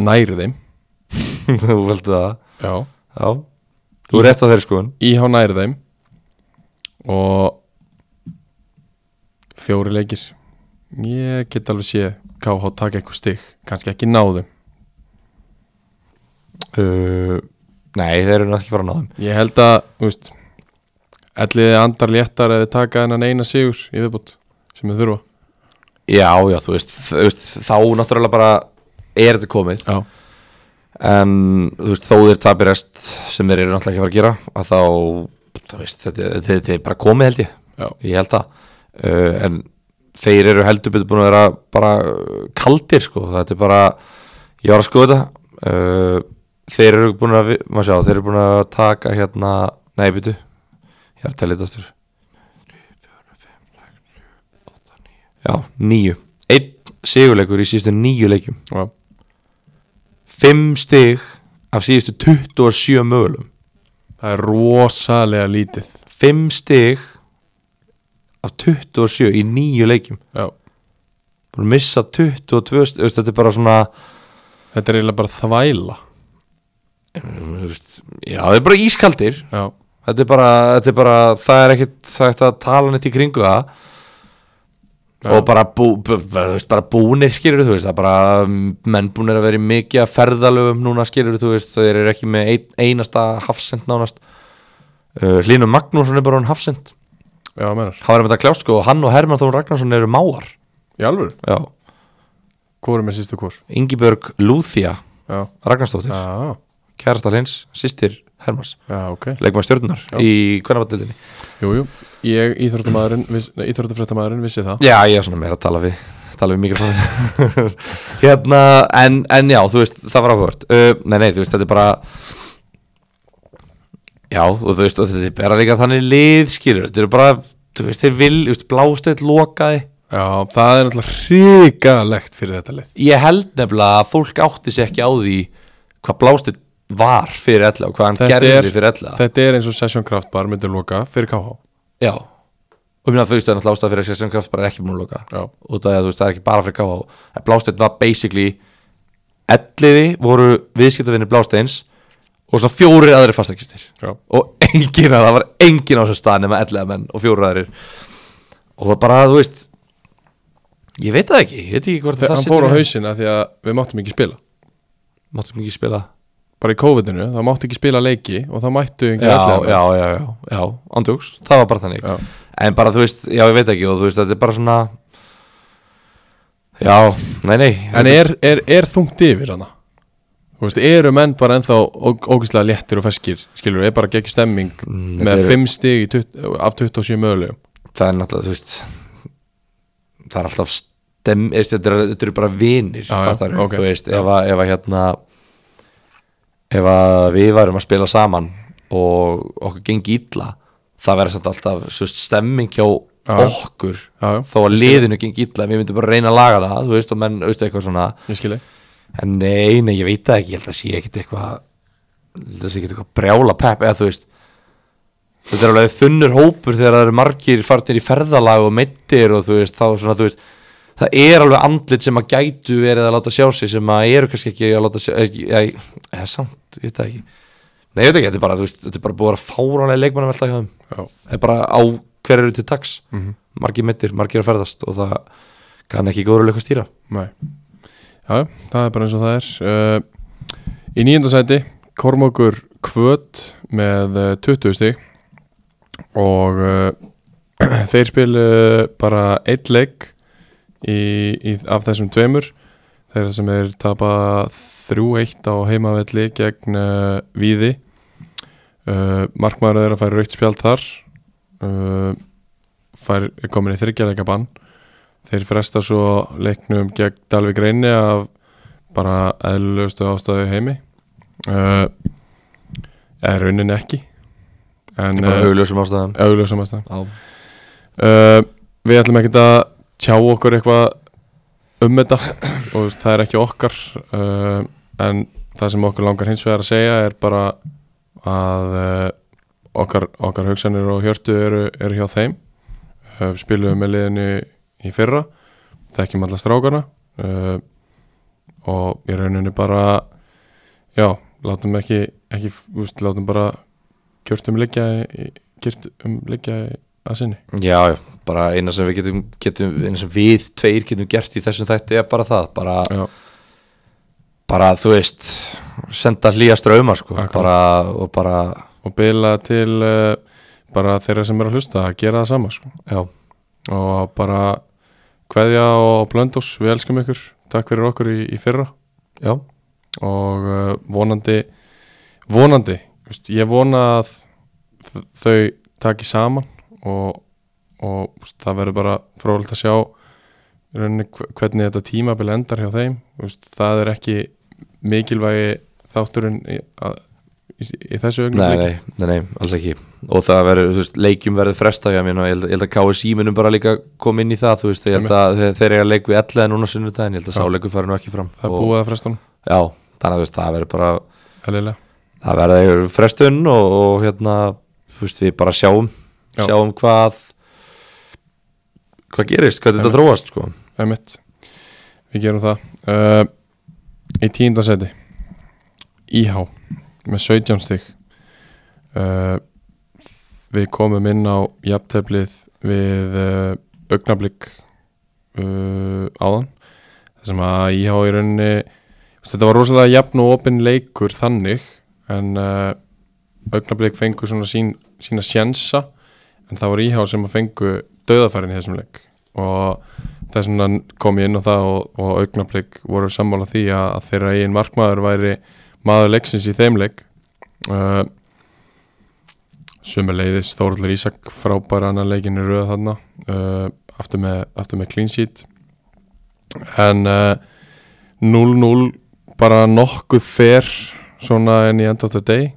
Speaker 2: næri þeim
Speaker 3: þú veldu það
Speaker 2: já,
Speaker 3: Já, þú er rétt að þeirri skoðun
Speaker 2: Íhá næri þeim og fjóri leikir ég get alveg séð KH taka eitthvað stig, kannski ekki náðum
Speaker 3: uh, Nei, þeir eru náttúrulega ekki fara að náðum
Speaker 2: ég held að, þú veist elliði andar léttar eða taka hennan eina sigur í viðbútt sem þau þurfa
Speaker 3: Já, já, þú veist, þú veist þá náttúrulega bara er þetta komið
Speaker 2: já,
Speaker 3: en þú veist, þó þeir tapir rest sem þeir eru náttúrulega ekki að fara að gera að þá, þú veist, þetta, þetta, þetta er bara komið held ég,
Speaker 2: já
Speaker 3: ég held það uh, en þeir eru heldur betur búin að vera bara uh, kaldir sko, þetta er bara ég var að skoða þetta uh, þeir eru búin að, vi- maður sjá, þeir eru búin að taka hérna, nei, byrju ég er að tella þetta aftur já, níu einn sigurleikur í síðustu níu leikjum
Speaker 2: Já,
Speaker 3: fimm stig af síðustu 27 mögulegum
Speaker 2: það er rosalega lítið
Speaker 3: 5 stig af 27 í nýju leikjum
Speaker 2: Já.
Speaker 3: búin að missa 22 stig, þú veist, þetta er bara svona
Speaker 2: Þetta er eiginlega bara þvæla
Speaker 3: Mm, þú veist, já, það er bara ískaldir
Speaker 2: Já,
Speaker 3: þetta er bara, þetta er bara það er ekkit það er ekkit að tala neitt í kringu það og bara, bú, bú, bú, þú veist, bara búnir skilur þú veist, það er bara mm, menn búnir að vera í mikið að ferðalöfum núna skilur þú veist, þeir eru ekki með ein, einasta hafsend nánast uh, Hlynur Magnússon er bara hann hafsend
Speaker 2: Já, menar
Speaker 3: hann er með þetta klást sko, og hann og Hermann Þór Ragnarsson eru máar
Speaker 2: Í alvöru,
Speaker 3: já,
Speaker 2: hvor er með sýstu kurs?
Speaker 3: Ingibjörg Lúthía
Speaker 2: Já,
Speaker 3: Ragnarsdóttir,
Speaker 2: já,
Speaker 3: kærasta Hlyns sýstir Hermanns,
Speaker 2: já, ok
Speaker 3: leikmaður stjörnunar
Speaker 2: Já.
Speaker 3: í hvernavatnildinni
Speaker 2: Jú, jú, ég íþróttamæðurinn Íþróttafréttamaðurinn vissi það
Speaker 3: Já, ég er svona meira að tala við tala við mikrofónin hérna, en, en já, þú veist, það var áhugavert uh, nei, nei, þú veist, þetta er bara já, og þú veist og þetta er bara líka þannig lið skilur, þetta er bara, þú veist, þeir vil þú veist, blástöð lokaði,
Speaker 2: Já, það er náttúrulega hrigalegt fyrir þetta lið
Speaker 3: ég held nefnilega að fólk átti sér ekki á því hvað blástöð var fyrir ella og hvað hann
Speaker 2: Þetta
Speaker 3: gerði
Speaker 2: er-
Speaker 3: fyrir ella
Speaker 2: Þetta er eins og Session Craft Bar myndi loka fyrir KH
Speaker 3: já, og minna þú veist, það er náttúrulega ástæða fyrir að sér kraft bara er ekki múin að loka
Speaker 2: Já,
Speaker 3: út af því að þú veist, það er ekki bara fyrir káa en Blásteinn var basically elliði voru viðskiptavinni Blásteins og svo fjórir aðrir fastakistir
Speaker 2: já,
Speaker 3: og engin að það var engin á þessu stað nema elliða menn og fjórir aðrir og það bara, þú veist ég veit það ekki, ég veit ekki hvort
Speaker 2: Þegar
Speaker 3: það
Speaker 2: hann fór á hausina því að við máttum ekki spila
Speaker 3: máttum ekki spila
Speaker 2: Bara í COVID-inu, það máttu ekki spila leiki og það mættu
Speaker 3: já,
Speaker 2: engin
Speaker 3: já, já, já, já, andjóks það var bara þannig
Speaker 2: já
Speaker 3: en bara þú veist, já, ég veit ekki og þú veist, þetta er bara svona já, nei, nei
Speaker 2: En er, er, er þungt yfir hana? Þú veist, eru menn bara ennþá ógæslega léttir og feskir, skilur, er bara geggjur stemming með
Speaker 3: Mm, þetta eru-
Speaker 2: 5 stig í tutt- af 27 mögulegum
Speaker 3: það er náttúrulega, þú veist það er alltaf stem, eðst, þetta, er, þetta eru bara vinir
Speaker 2: Já, já,
Speaker 3: fattar,
Speaker 2: ok.
Speaker 3: þú veist, ef að, ef að hérna ef að við varum að spila saman og okkur gengi illa það verður samt alltaf svo veist, stemming hjá
Speaker 2: já.
Speaker 3: okkur
Speaker 2: Já, já,
Speaker 3: þó að liðinu gengi illa, við myndum bara reyna að laga það þú veist, og menn, veist, eitthvað svona
Speaker 2: ég skil ég
Speaker 3: en nei, nei, ég veit það ekki, ég held að sé ekkit eitthvað ég held að sé ekkit eitthvað brjála pepp eða þú veist þetta er alveg þunnur hópur þegar það eru margir farnir í ferðalag og meittir og þú veist, þá svona, þú veist það er alveg andlit sem að gætu verið að láta sjá sig sem að eru kannski ekki að láta sjá ekki, ég, eða samt, ég veit það ekki nei, ég veit ekki, þetta er bara, þú veist, þetta er bara búið að fáránlega leikmanna velta hjá þeim
Speaker 2: Já,
Speaker 3: Það er bara á hverju eru til dags margir meittir, margir að ferðast og það kann ekki góður að leika stýra
Speaker 2: nei Já, já, það er bara eins og það er uh, Í nýjöndasæti Kormokur Kvöt með uh, 20 stig og uh, þeir spilu bara eitt leik í, í, af þessum tveimur þeirra sem er tapa 3-1 á heimavelli gegn uh, Víði uh, Markmaður er að færa raukt spjald þar uh, fær, er komin í þryggjaleika bann þeir fresta svo leiknum gegn Dalvik Reyni af bara eðlustu ástæðu í heimi uh, eða raunin ekki en eh,
Speaker 3: Þetta er bara augljósum ástæðum
Speaker 2: augljósum ástæðan
Speaker 3: Já.
Speaker 2: uh, Við ætlum ekkert að tjá okkur eitthvað um þetta og það er ekki okkar uh, en það sem okkur langar hins vegar að segja er bara að uh, okkar, okkar hugsanir og hjörtu eru, eru hjá þeim uh, spilum með liðinu í fyrra þekkjum alla strákana uh, og í rauninu bara já, látum ekki, ekki úst, látum bara kjörtum liggja í, kjörtum liggja í, að sinni
Speaker 3: Já, já, bara eina sem við getum, getum eina sem við tveir getum gert í þessum þætti er bara það, bara,
Speaker 2: Já,
Speaker 3: bara þú veist senda hlýja strauma sko
Speaker 2: Akkurat.
Speaker 3: bara, og bara,
Speaker 2: og bila til uh, bara þeirra sem eru að hlusta að gera það sama sko.
Speaker 3: já,
Speaker 2: og bara kveðja og blöndos, við elskum ykkur takk fyrir okkur í, í fyrra
Speaker 3: já
Speaker 2: og uh, vonandi vonandi, þú veist, ég vona að þ- þau taki saman og, og þú veist, það verður bara frólægt að sjá í rauninni hve- hvernig þetta tímabil endar hjá þeim Þú veist, það er ekki mikilvægi þátturinn í, að, í, í þessu augnum
Speaker 3: nei, nei, nei, nei, alls ekki og það verður, þú veist, leikjum verður fresta hjá mér og ég held, ég held að KSI munum bara líka koma inn í það, þú veist, ég held að þeir, þeir eiga leik við ellega núna sunnudaginn, ég held að
Speaker 2: Já.
Speaker 3: sáleikur fara nú ekki fram
Speaker 2: það er
Speaker 3: og,
Speaker 2: búið að fresta hún
Speaker 3: já, þannig að þú veist, það verður bara
Speaker 2: Helgilega.
Speaker 3: það verða frestun og, og hérna, þú veist, við bara sjáum
Speaker 2: Já.
Speaker 3: sjáum hvað hvað gerist, hvað þetta
Speaker 2: Einmitt.
Speaker 3: þróast sko.
Speaker 2: Einmitt. Við gerum það uh, Í tíundasæti Íhá með 17 stig uh, Við komum inn á jafnteflið við uh, augnablík uh, áðan þar sem að IH í rauninni þú veist, þetta var rosalega jafn og opinn leikur þannig en uh, augnablik fengu svona sín, sína sjensa en það var IH sem að fengu döðafærin í þessum leik og þess vegna kom ég inn á það og, og augnablik voru sammála því að, að þeirra eigin markmaður væri maður leiksins í þeim leik uh, Sumuleiðis Þóruldur Ísak frábæra annar leikinu röða þarna uh, aftur, með, aftur með clean sheet en uh, 0-0 bara nokkuð fer svona en í end of the day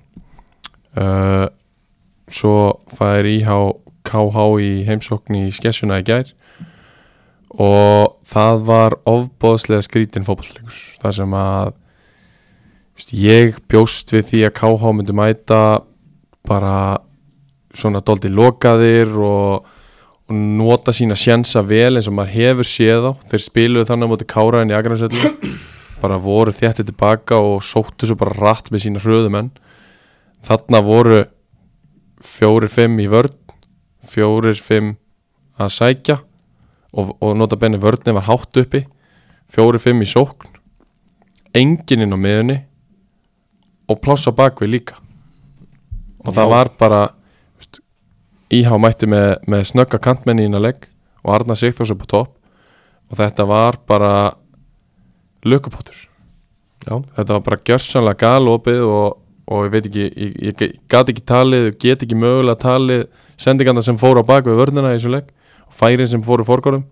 Speaker 2: uh, svo fær IH KH í heimsókn í skessuna í gær og það var ofbóðslega skrítin fótballleikur þar sem að þú veist, ég bjóst við því að KH myndi mæta bara svona doldi lokaðir og, og nota sína sjensa vel eins og maður hefur séð á þeir spiluðu þannig á móti káraðin í agrafsöldu bara voru þjætti tilbaka og sóttu svo bara rætt með sína hröðumenn þarna voru fjórir fimm í vörn fjórir fimm að sækja og, og nota benni vörnin var hátt uppi fjórir fimm í sókn enginn inn á miðunni og pláss á bakvið líka og það
Speaker 3: Já.
Speaker 2: var bara þú veist, IH mætti með, með snögga kantmenni inn að legg og Arna Sigþórs upp á topp og þetta var bara lukkupotur
Speaker 3: Já.
Speaker 2: þetta var bara gjörsanlega galopið og, og ég veit ekki, ég, ég, ég gat ekki talið ég get ekki mögulega talið sendingarna sem fóru á bak við vörnina í þessu legg og færin sem fóru fórgórum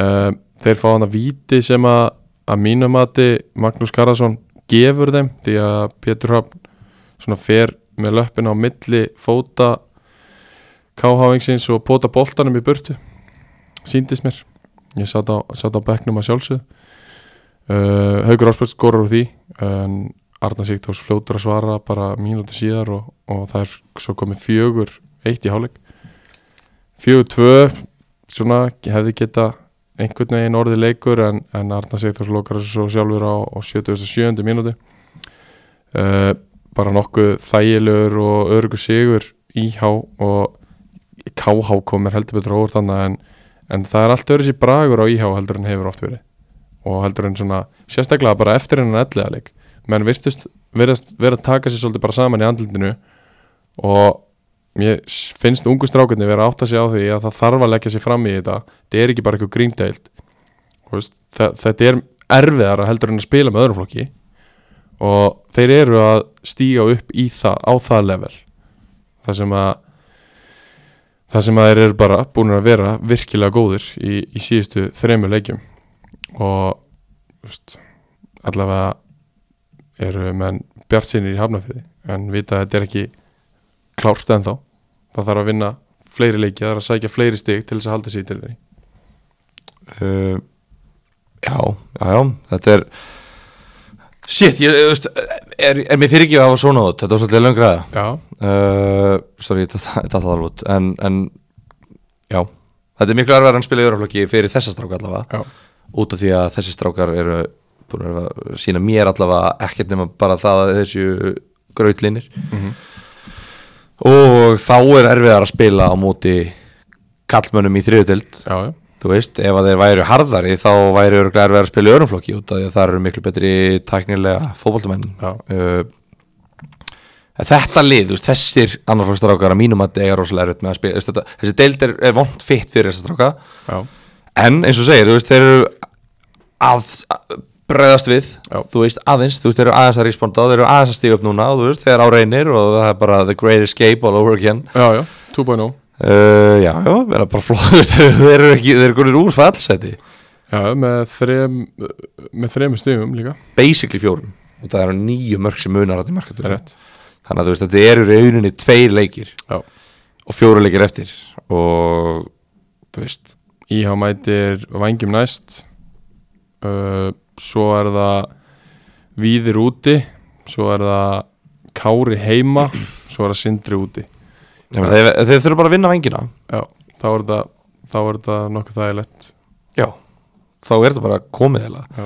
Speaker 2: uh, þeir fá hann að víti sem að að mínu mati Magnús Karasson gefur þeim því að Pétur Hafn svona fer með löppin á milli fóta KH-vingsins og pota boltanum í burtu síndist mér ég satt á, satt á bekknum að sjálfsög uh, Haugur Ásbjörn skorur úr því en Arna Sigtós fljótur að svara bara mínúti síðar og, og það er svo komið fjögur eitt í hálfleik fjögur tvö svona hefði geta einhvern veginn orðið leikur en, en Arna Sigtós lokar þessu svo sjálfur á, á 77. mínúti uh, bara nokkuð þægilegur og örugu sigur íhá og KH komir heldur betur óvart þannig en, en það er allt öðru sér bragur á íhá heldur en hefur oft verið og heldur en svona sérstaklega bara eftir hennan ellega leik menn virtust verðast verið að taka sér svolítið bara saman í andlindinu og mér s- finnst ungu strákunni vera að átta sig á því að það þarf að leggja sér fram í þetta þetta er ekki bara eitthvað gríndeild Þú veist, þe- þetta er erfiðara heldur en að spila með öðrum flokki og þeir eru að stíga upp í það, á það level það sem að það sem að þeir eru bara búin að vera virkilega góðir í, í síðustu þremur leikjum og úst, allavega eru menn bjart sinni í hafnafyrði en vita að þetta er ekki klárt ennþá það þarf að vinna fleiri leiki, það þarf að sækja fleiri stig til þess að halda sér til þeirri Eh,
Speaker 3: uh, já, já, já, þetta er Shit, ég, ég veist, er, er mér fyrir ekki að hafa svona út, þetta var svolítið löngraða
Speaker 2: Já,
Speaker 3: uh, Sorry, þetta það alveg út en, en, já Þetta er miklu erfæður en spila í öraflokki fyrir þessa stráka allavega
Speaker 2: já,
Speaker 3: Út af því að þessi strákar eru búin að vera að sína mér allavega ekkert nema bara það að þessu grautlinir Og þá er erfiðar að spila á móti kallmönnum í þriðutild
Speaker 2: já, já.
Speaker 3: þú veist, ef að þeir væru harðari þá væru örglega erfið að spila í örumflokki út af því að það eru miklu betri tæknilega fótboltamenn
Speaker 2: Já.
Speaker 3: uh, en þetta lið, þú veist, þessir annarflokksstrákar að mínum að eiga rosalega erfitt með að spila þú veist, þetta, þessi deild er, er vond fitt fyrir þessar stráka
Speaker 2: já.
Speaker 3: en eins og þú segir, þú veist, þeir eru að, að bregðast við
Speaker 2: Já.
Speaker 3: þú veist, aðeins, þú veist, þeir eru aðeins að responda þeir eru aðeins að stíga upp núna, og þú veist, þeir á reynir og það er bara the great escape all over again
Speaker 2: Já, já, 2.0
Speaker 3: uh, já, já, það er bara flott þeir eru ekki, þeir eru konir úr fallseti
Speaker 2: Já, með, þrem, með þremur stigum líka
Speaker 3: basically fjórum og það eru nýju mörg sem munar þarna í
Speaker 2: Það er
Speaker 3: markatöru
Speaker 2: rétt
Speaker 3: þannig að þú veist þetta eru í rauninni tveir leikir
Speaker 2: Já.
Speaker 3: og fjóru leikir eftir og þú veist
Speaker 2: IH mætir vangjum næst uh, Svo er það Víðir úti Svo er það Kári heima Svo er það Sindri úti
Speaker 3: ja. þeir, þeir þurfa bara að vinna vengina
Speaker 2: Já, þá er það, þá er það nokkuð þægilegt
Speaker 3: já þá er þetta bara komið heila
Speaker 2: Já.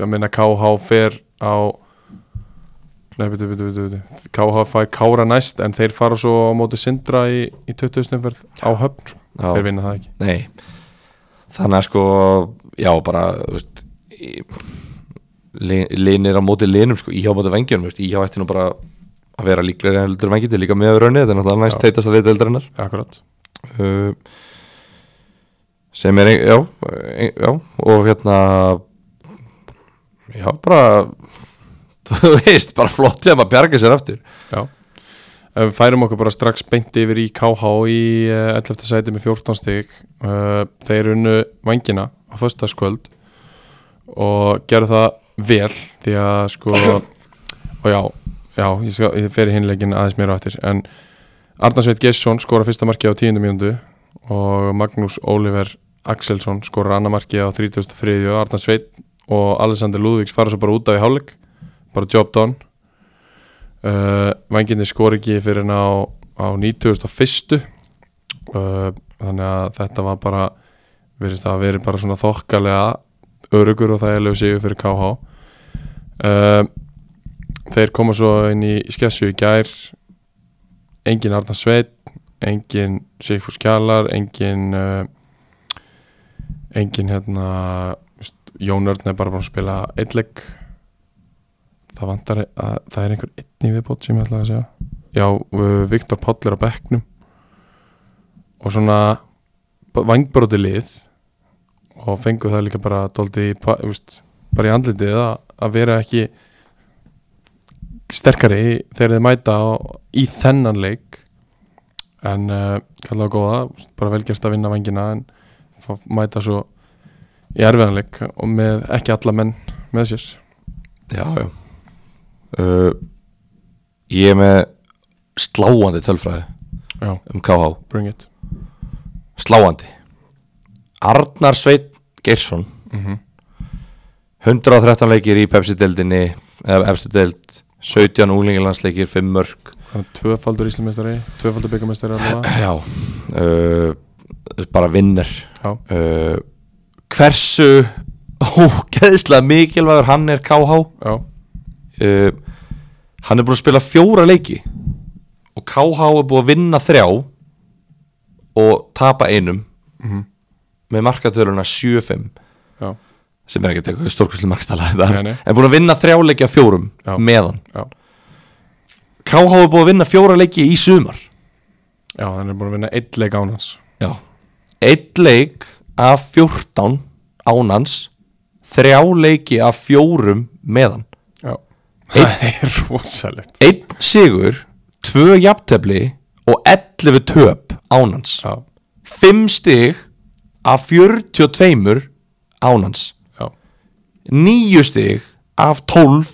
Speaker 2: Ég meina KH fer á Nei, bitu, bitu, bitu, bitu. KH fær Kára næst en þeir fara svo á móti Sindra í, í 2000 umferð á höfn, sko.
Speaker 3: Já.
Speaker 2: þeir vinna það ekki
Speaker 3: nei þannig að sko já bara þú veist, í- li- linir á móti linum sko, íhá á móti vengjunum veist, íhá ætti nú bara að vera líklegri en heldur vengjandi líka með raunni, þetta er náttúrulega næst
Speaker 2: Já.
Speaker 3: teitast að leita heldarinnar
Speaker 2: akkurat
Speaker 3: uh, sem er ein- já, ein- já og hérna já bara þú veist, bara flott sem að bjarga sér aftur
Speaker 2: Já Ef Við færum okkur bara strax beint yfir í KH í eh, 11. sæti með 14 stig Eh, Þeir unnu vangina á föstaskvöld og gerðu það vel því að sko og já, já ég, skal, ég fer í hinleikin aðeins mér á eftir en Arnarsveit Gesson skora fyrsta marki á 10. mínútu og Magnús Oliver Axelsson skora annar marki á 33. og Arnarsveit og Alexander Lúðvíks fara svo bara út af í hálfleik bara job done uh, Vænginni skor ekki fyrir henn á, á 91. Uh, þannig að þetta var bara verðist að verið bara svona þokkalega örugur og þægilegu sigur fyrir KH uh, Þeir koma svo inn í skessu í gær engin Arnar Sveit engin Sigfús Kjallar engin uh, engin hérna veist, Jón Örn er bara búin að spila eitleik það vantar e- að það er einhver einn í viðbót sem ég ætlaði að segja já, uh, Viktor Páll er á bekknum og svona vangbróti lið og fengu það líka bara dóldi, úst, bara í andlitið að, að vera ekki sterkari þegar þið mæta á, í þennan leik en uh, kallaðu góða úst, bara velgjert að vinna vangina en fá- mæta svo í erfiðanleik og með ekki alla menn með sér
Speaker 3: Já, já uh, Ég er með sláandi tölfræði
Speaker 2: já,
Speaker 3: um KH
Speaker 2: bring it
Speaker 3: Sláandi Arnar Sveit Geirsson
Speaker 2: mhm
Speaker 3: 113 leikir í Pepsi-deldinni eða efstu deld 17 úlingilandsleikir, 5 mörg
Speaker 2: Hann er tvöfaldur Íslamestari, tvöfaldur byggamestari allavega
Speaker 3: Já uh, Bara vinner
Speaker 2: Já,
Speaker 3: uh, Hversu ógeðslega mikilvægur hann er KH
Speaker 2: já,
Speaker 3: uh, hann er búin að spila fjóra leiki og KH er búin að vinna þrjá og tapa einum með markatöluna 7-5
Speaker 2: já,
Speaker 3: sem er ekki eitthvað stórkvöldslega markstala þetta
Speaker 2: Nei, nei.
Speaker 3: en búin að vinna þrjá leiki af fjórum
Speaker 2: Já.
Speaker 3: meðan
Speaker 2: já
Speaker 3: KH er búin að vinna fjóra leiki í sumar
Speaker 2: Já, hann er búin að vinna einn leik án hans
Speaker 3: Já. einn leik af 14 ánans þrjá leiki af fjórum meðan
Speaker 2: Já Það er rosalegt
Speaker 3: einn sigur, tvö jafntefli og 11 töp ánans
Speaker 2: Já,
Speaker 3: 5 stig af 42 ánans
Speaker 2: já,
Speaker 3: 9 stig af 12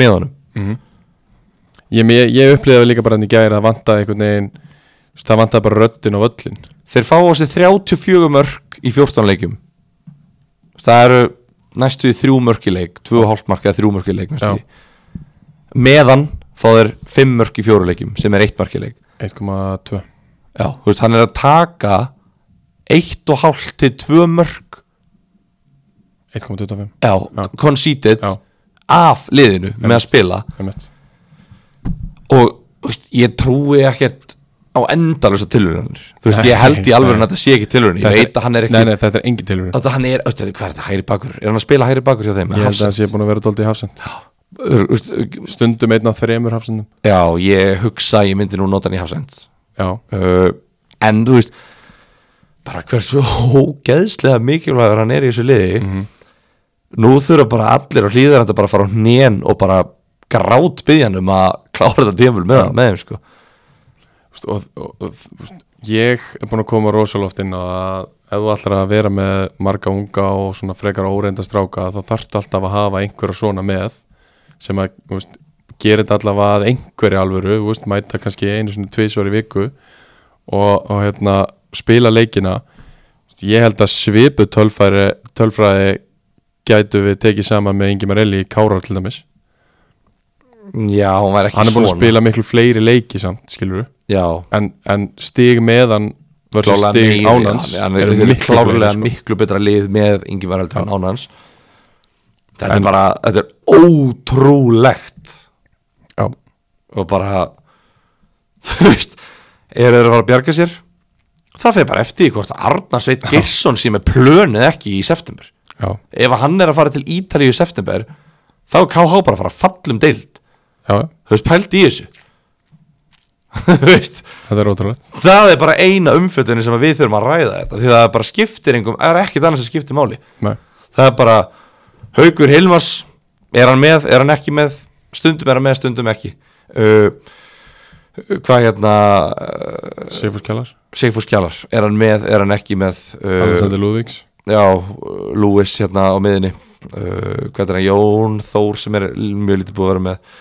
Speaker 3: með honum
Speaker 2: ég, ég, ég upplýði líka bara hann í gæri að vantaði einhvern veginn þú veist, Það vantaði bara röddin og völlin
Speaker 3: þeir fá á sig 34 mörg í 14 leikjum það eru næstu 3 mörg í leik 2,5 mark eða 3 mörg í leik næstu
Speaker 2: Já.
Speaker 3: því. meðan fá þeir 5 mörg í 4 leikjum sem er 1 mark í leik
Speaker 2: 1,2
Speaker 3: Já, þú veist, hann er að taka 1,5 til 2 mörg
Speaker 2: 1,25
Speaker 3: Já,
Speaker 2: Já.
Speaker 3: conceded
Speaker 2: Já.
Speaker 3: af liðinu með að spila
Speaker 2: Einmitt.
Speaker 3: og þú veist, ég trúi ekkert á endalösa tilhörunir þú veist,
Speaker 2: Nei,
Speaker 3: ég held í alveg
Speaker 2: nei.
Speaker 3: að þetta sé ekki tilhörun ég
Speaker 2: Þetta
Speaker 3: veit að hann er ekki
Speaker 2: Nei, nei, þetta er engin tilvíð
Speaker 3: Þetta hann er, veistu, hvað er þetta, hægri bakur? Er hann að spila hægri bakur hjá þeim?
Speaker 2: Ég held að það sé
Speaker 3: Hafsend.
Speaker 2: búin að vera dóldi í hafsend
Speaker 3: Ör- veistu,
Speaker 2: Stundum einn af þremur hafsendum
Speaker 3: Já, ég hugsa að ég myndi nú nota hann í hafsend
Speaker 2: Já,
Speaker 3: uh, En, þú veist bara hversu ógeðslega mikilvægur hann er í þessu liði
Speaker 2: Mhm.
Speaker 3: Nú þurfa bara allir og hlýðar þetta bara að fara á hnén og bara grát byggjan um að klára þetta tímul með, með þeim, sko
Speaker 2: Þú veist, og, og, og þú veist, ég er búin að koma rosaloft inn á að ef þú ætlar að vera með marga unga og svona frekar óreinda stráka þá þarftu alltaf að hafa einhverja svona með sem að þú veist, gera þetta allavega að einhverju alvöru þú veist, mæta kannski einu svona tvisvar í viku og, og hérna, spila leikina Þú veist, ég held að svipu tölfæri, tölfræði gætu við tekið saman með Ingi Marelli í Kára til dæmis
Speaker 3: Já, hún var ekki
Speaker 2: hann er búin
Speaker 3: svona
Speaker 2: að spila miklu fleiri leiki samt skilur
Speaker 3: Já,
Speaker 2: en, en stig meðan versus
Speaker 3: Klálega
Speaker 2: stig
Speaker 3: meiri-
Speaker 2: ánans
Speaker 3: hann, hann er, er miklu klárlega
Speaker 2: sko.
Speaker 3: miklu betra lið með Ingimar heldur en ánans þetta
Speaker 2: En-
Speaker 3: er bara, þetta er ótrúlegt
Speaker 2: já,
Speaker 3: og bara þú veist, eru þeir að fara að bjarga sér það fer bara eftir því hvort Arnar Sveit Geirsson sé með plönið ekki í september
Speaker 2: já,
Speaker 3: ef að hann er að fara til Ítalíu í september þá er KH bara að fara að falla um deild
Speaker 2: já, já,
Speaker 3: þú veist, pælt í þessu þú veist
Speaker 2: þetta er ótrúlegt
Speaker 3: það er bara eina umfjöldinu sem við þurfum að ræða þetta því það er bara skiptir engum, það er ekkit annars að skiptir máli
Speaker 2: Nei.
Speaker 3: það er bara Haugur Hilmars, er hann með, er hann ekki með stundum er hann með, stundum ekki uh, hvað hérna uh,
Speaker 2: Sigfús Kjallar,
Speaker 3: Sigfús Kjallar, er hann með, er hann ekki með uh,
Speaker 2: Alexander Lúðvíks
Speaker 3: já, uh, Lewis hérna á miðinni uh, hvað er hann, Jón Þór sem er mjög lítið búið að vera með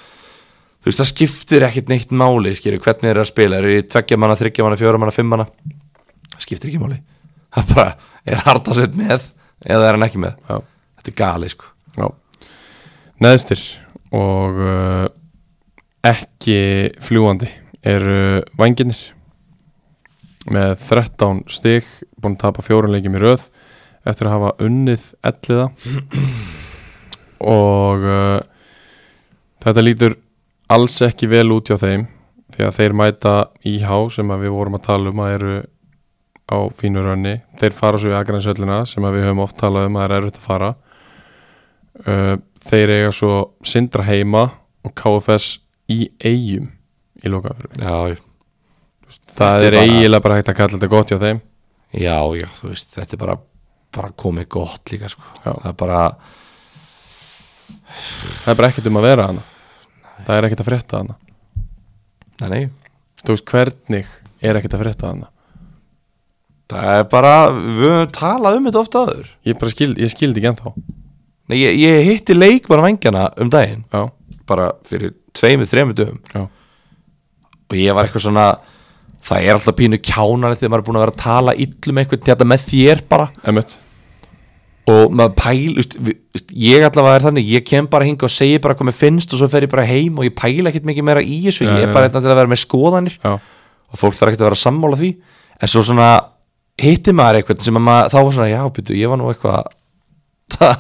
Speaker 3: þú veist, það skiptir ekkit neitt máli skýri, hvernig er að spila, er það tveggja manna, þryggja manna fjóra manna, fimm manna það skiptir ekki máli, það bara er hardasett með eða er hann ekki með
Speaker 2: já,
Speaker 3: þetta er gali sko
Speaker 2: já neðstir og uh, ekki fljúandi eru vanginir með 13 stig búin að tapa fjórun leikjum í röð eftir að hafa unnið elliða og uh, þetta lítur alls ekki vel út hjá þeim því að þeir mæta íhá sem að við vorum að tala um að eru á fínu rönni þeir fara svo í agrænshöllina sem að við höfum oft talað um að er erfitt að fara uh, þeir eiga svo sindra heima og KFS í eigum í lokafröð
Speaker 3: já,
Speaker 2: það
Speaker 3: Þetta
Speaker 2: er
Speaker 3: er bara-
Speaker 2: eiginlega bara hægt að kalla þetta gott hjá þeim
Speaker 3: já, já, þú veist þetta er bara, bara komið gott líka sko
Speaker 2: Já.
Speaker 3: það er bara,
Speaker 2: það er bara ekkert um að vera hana það er ekkert að frétta hana
Speaker 3: nei, nei
Speaker 2: þú veist hvernig er ekkert að frétta hana
Speaker 3: það er bara, við höfum talað um þetta ofta aður
Speaker 2: ég bara skildi, ég skildi ekki ennþá
Speaker 3: nei, ég, ég hitti leikmann vengjana um daginn
Speaker 2: já,
Speaker 3: bara fyrir tveimur, þreimur dögum
Speaker 2: já,
Speaker 3: og ég var eitthvað svona það er alltaf pínu kjánar þegar maður er búin að vera að tala illum eitthvað þetta með þér bara
Speaker 2: emmett
Speaker 3: og maður pæl, veist, við- veist, ég allavega er þannig ég kem bara hinga og segi bara hvað mér finnst og svo fer ég bara heim og ég pæla ekkert mikið meira í þessu
Speaker 2: Nei,
Speaker 3: ég
Speaker 2: nei,
Speaker 3: er bara
Speaker 2: nei.
Speaker 3: eitthvað til að vera með skoðanir
Speaker 2: já,
Speaker 3: og fólk þarf ekkert að vera að sammála því en svo svona hitti maður eitthvað sem að maður, þá var svona, já, býtu, ég var nú eitthvað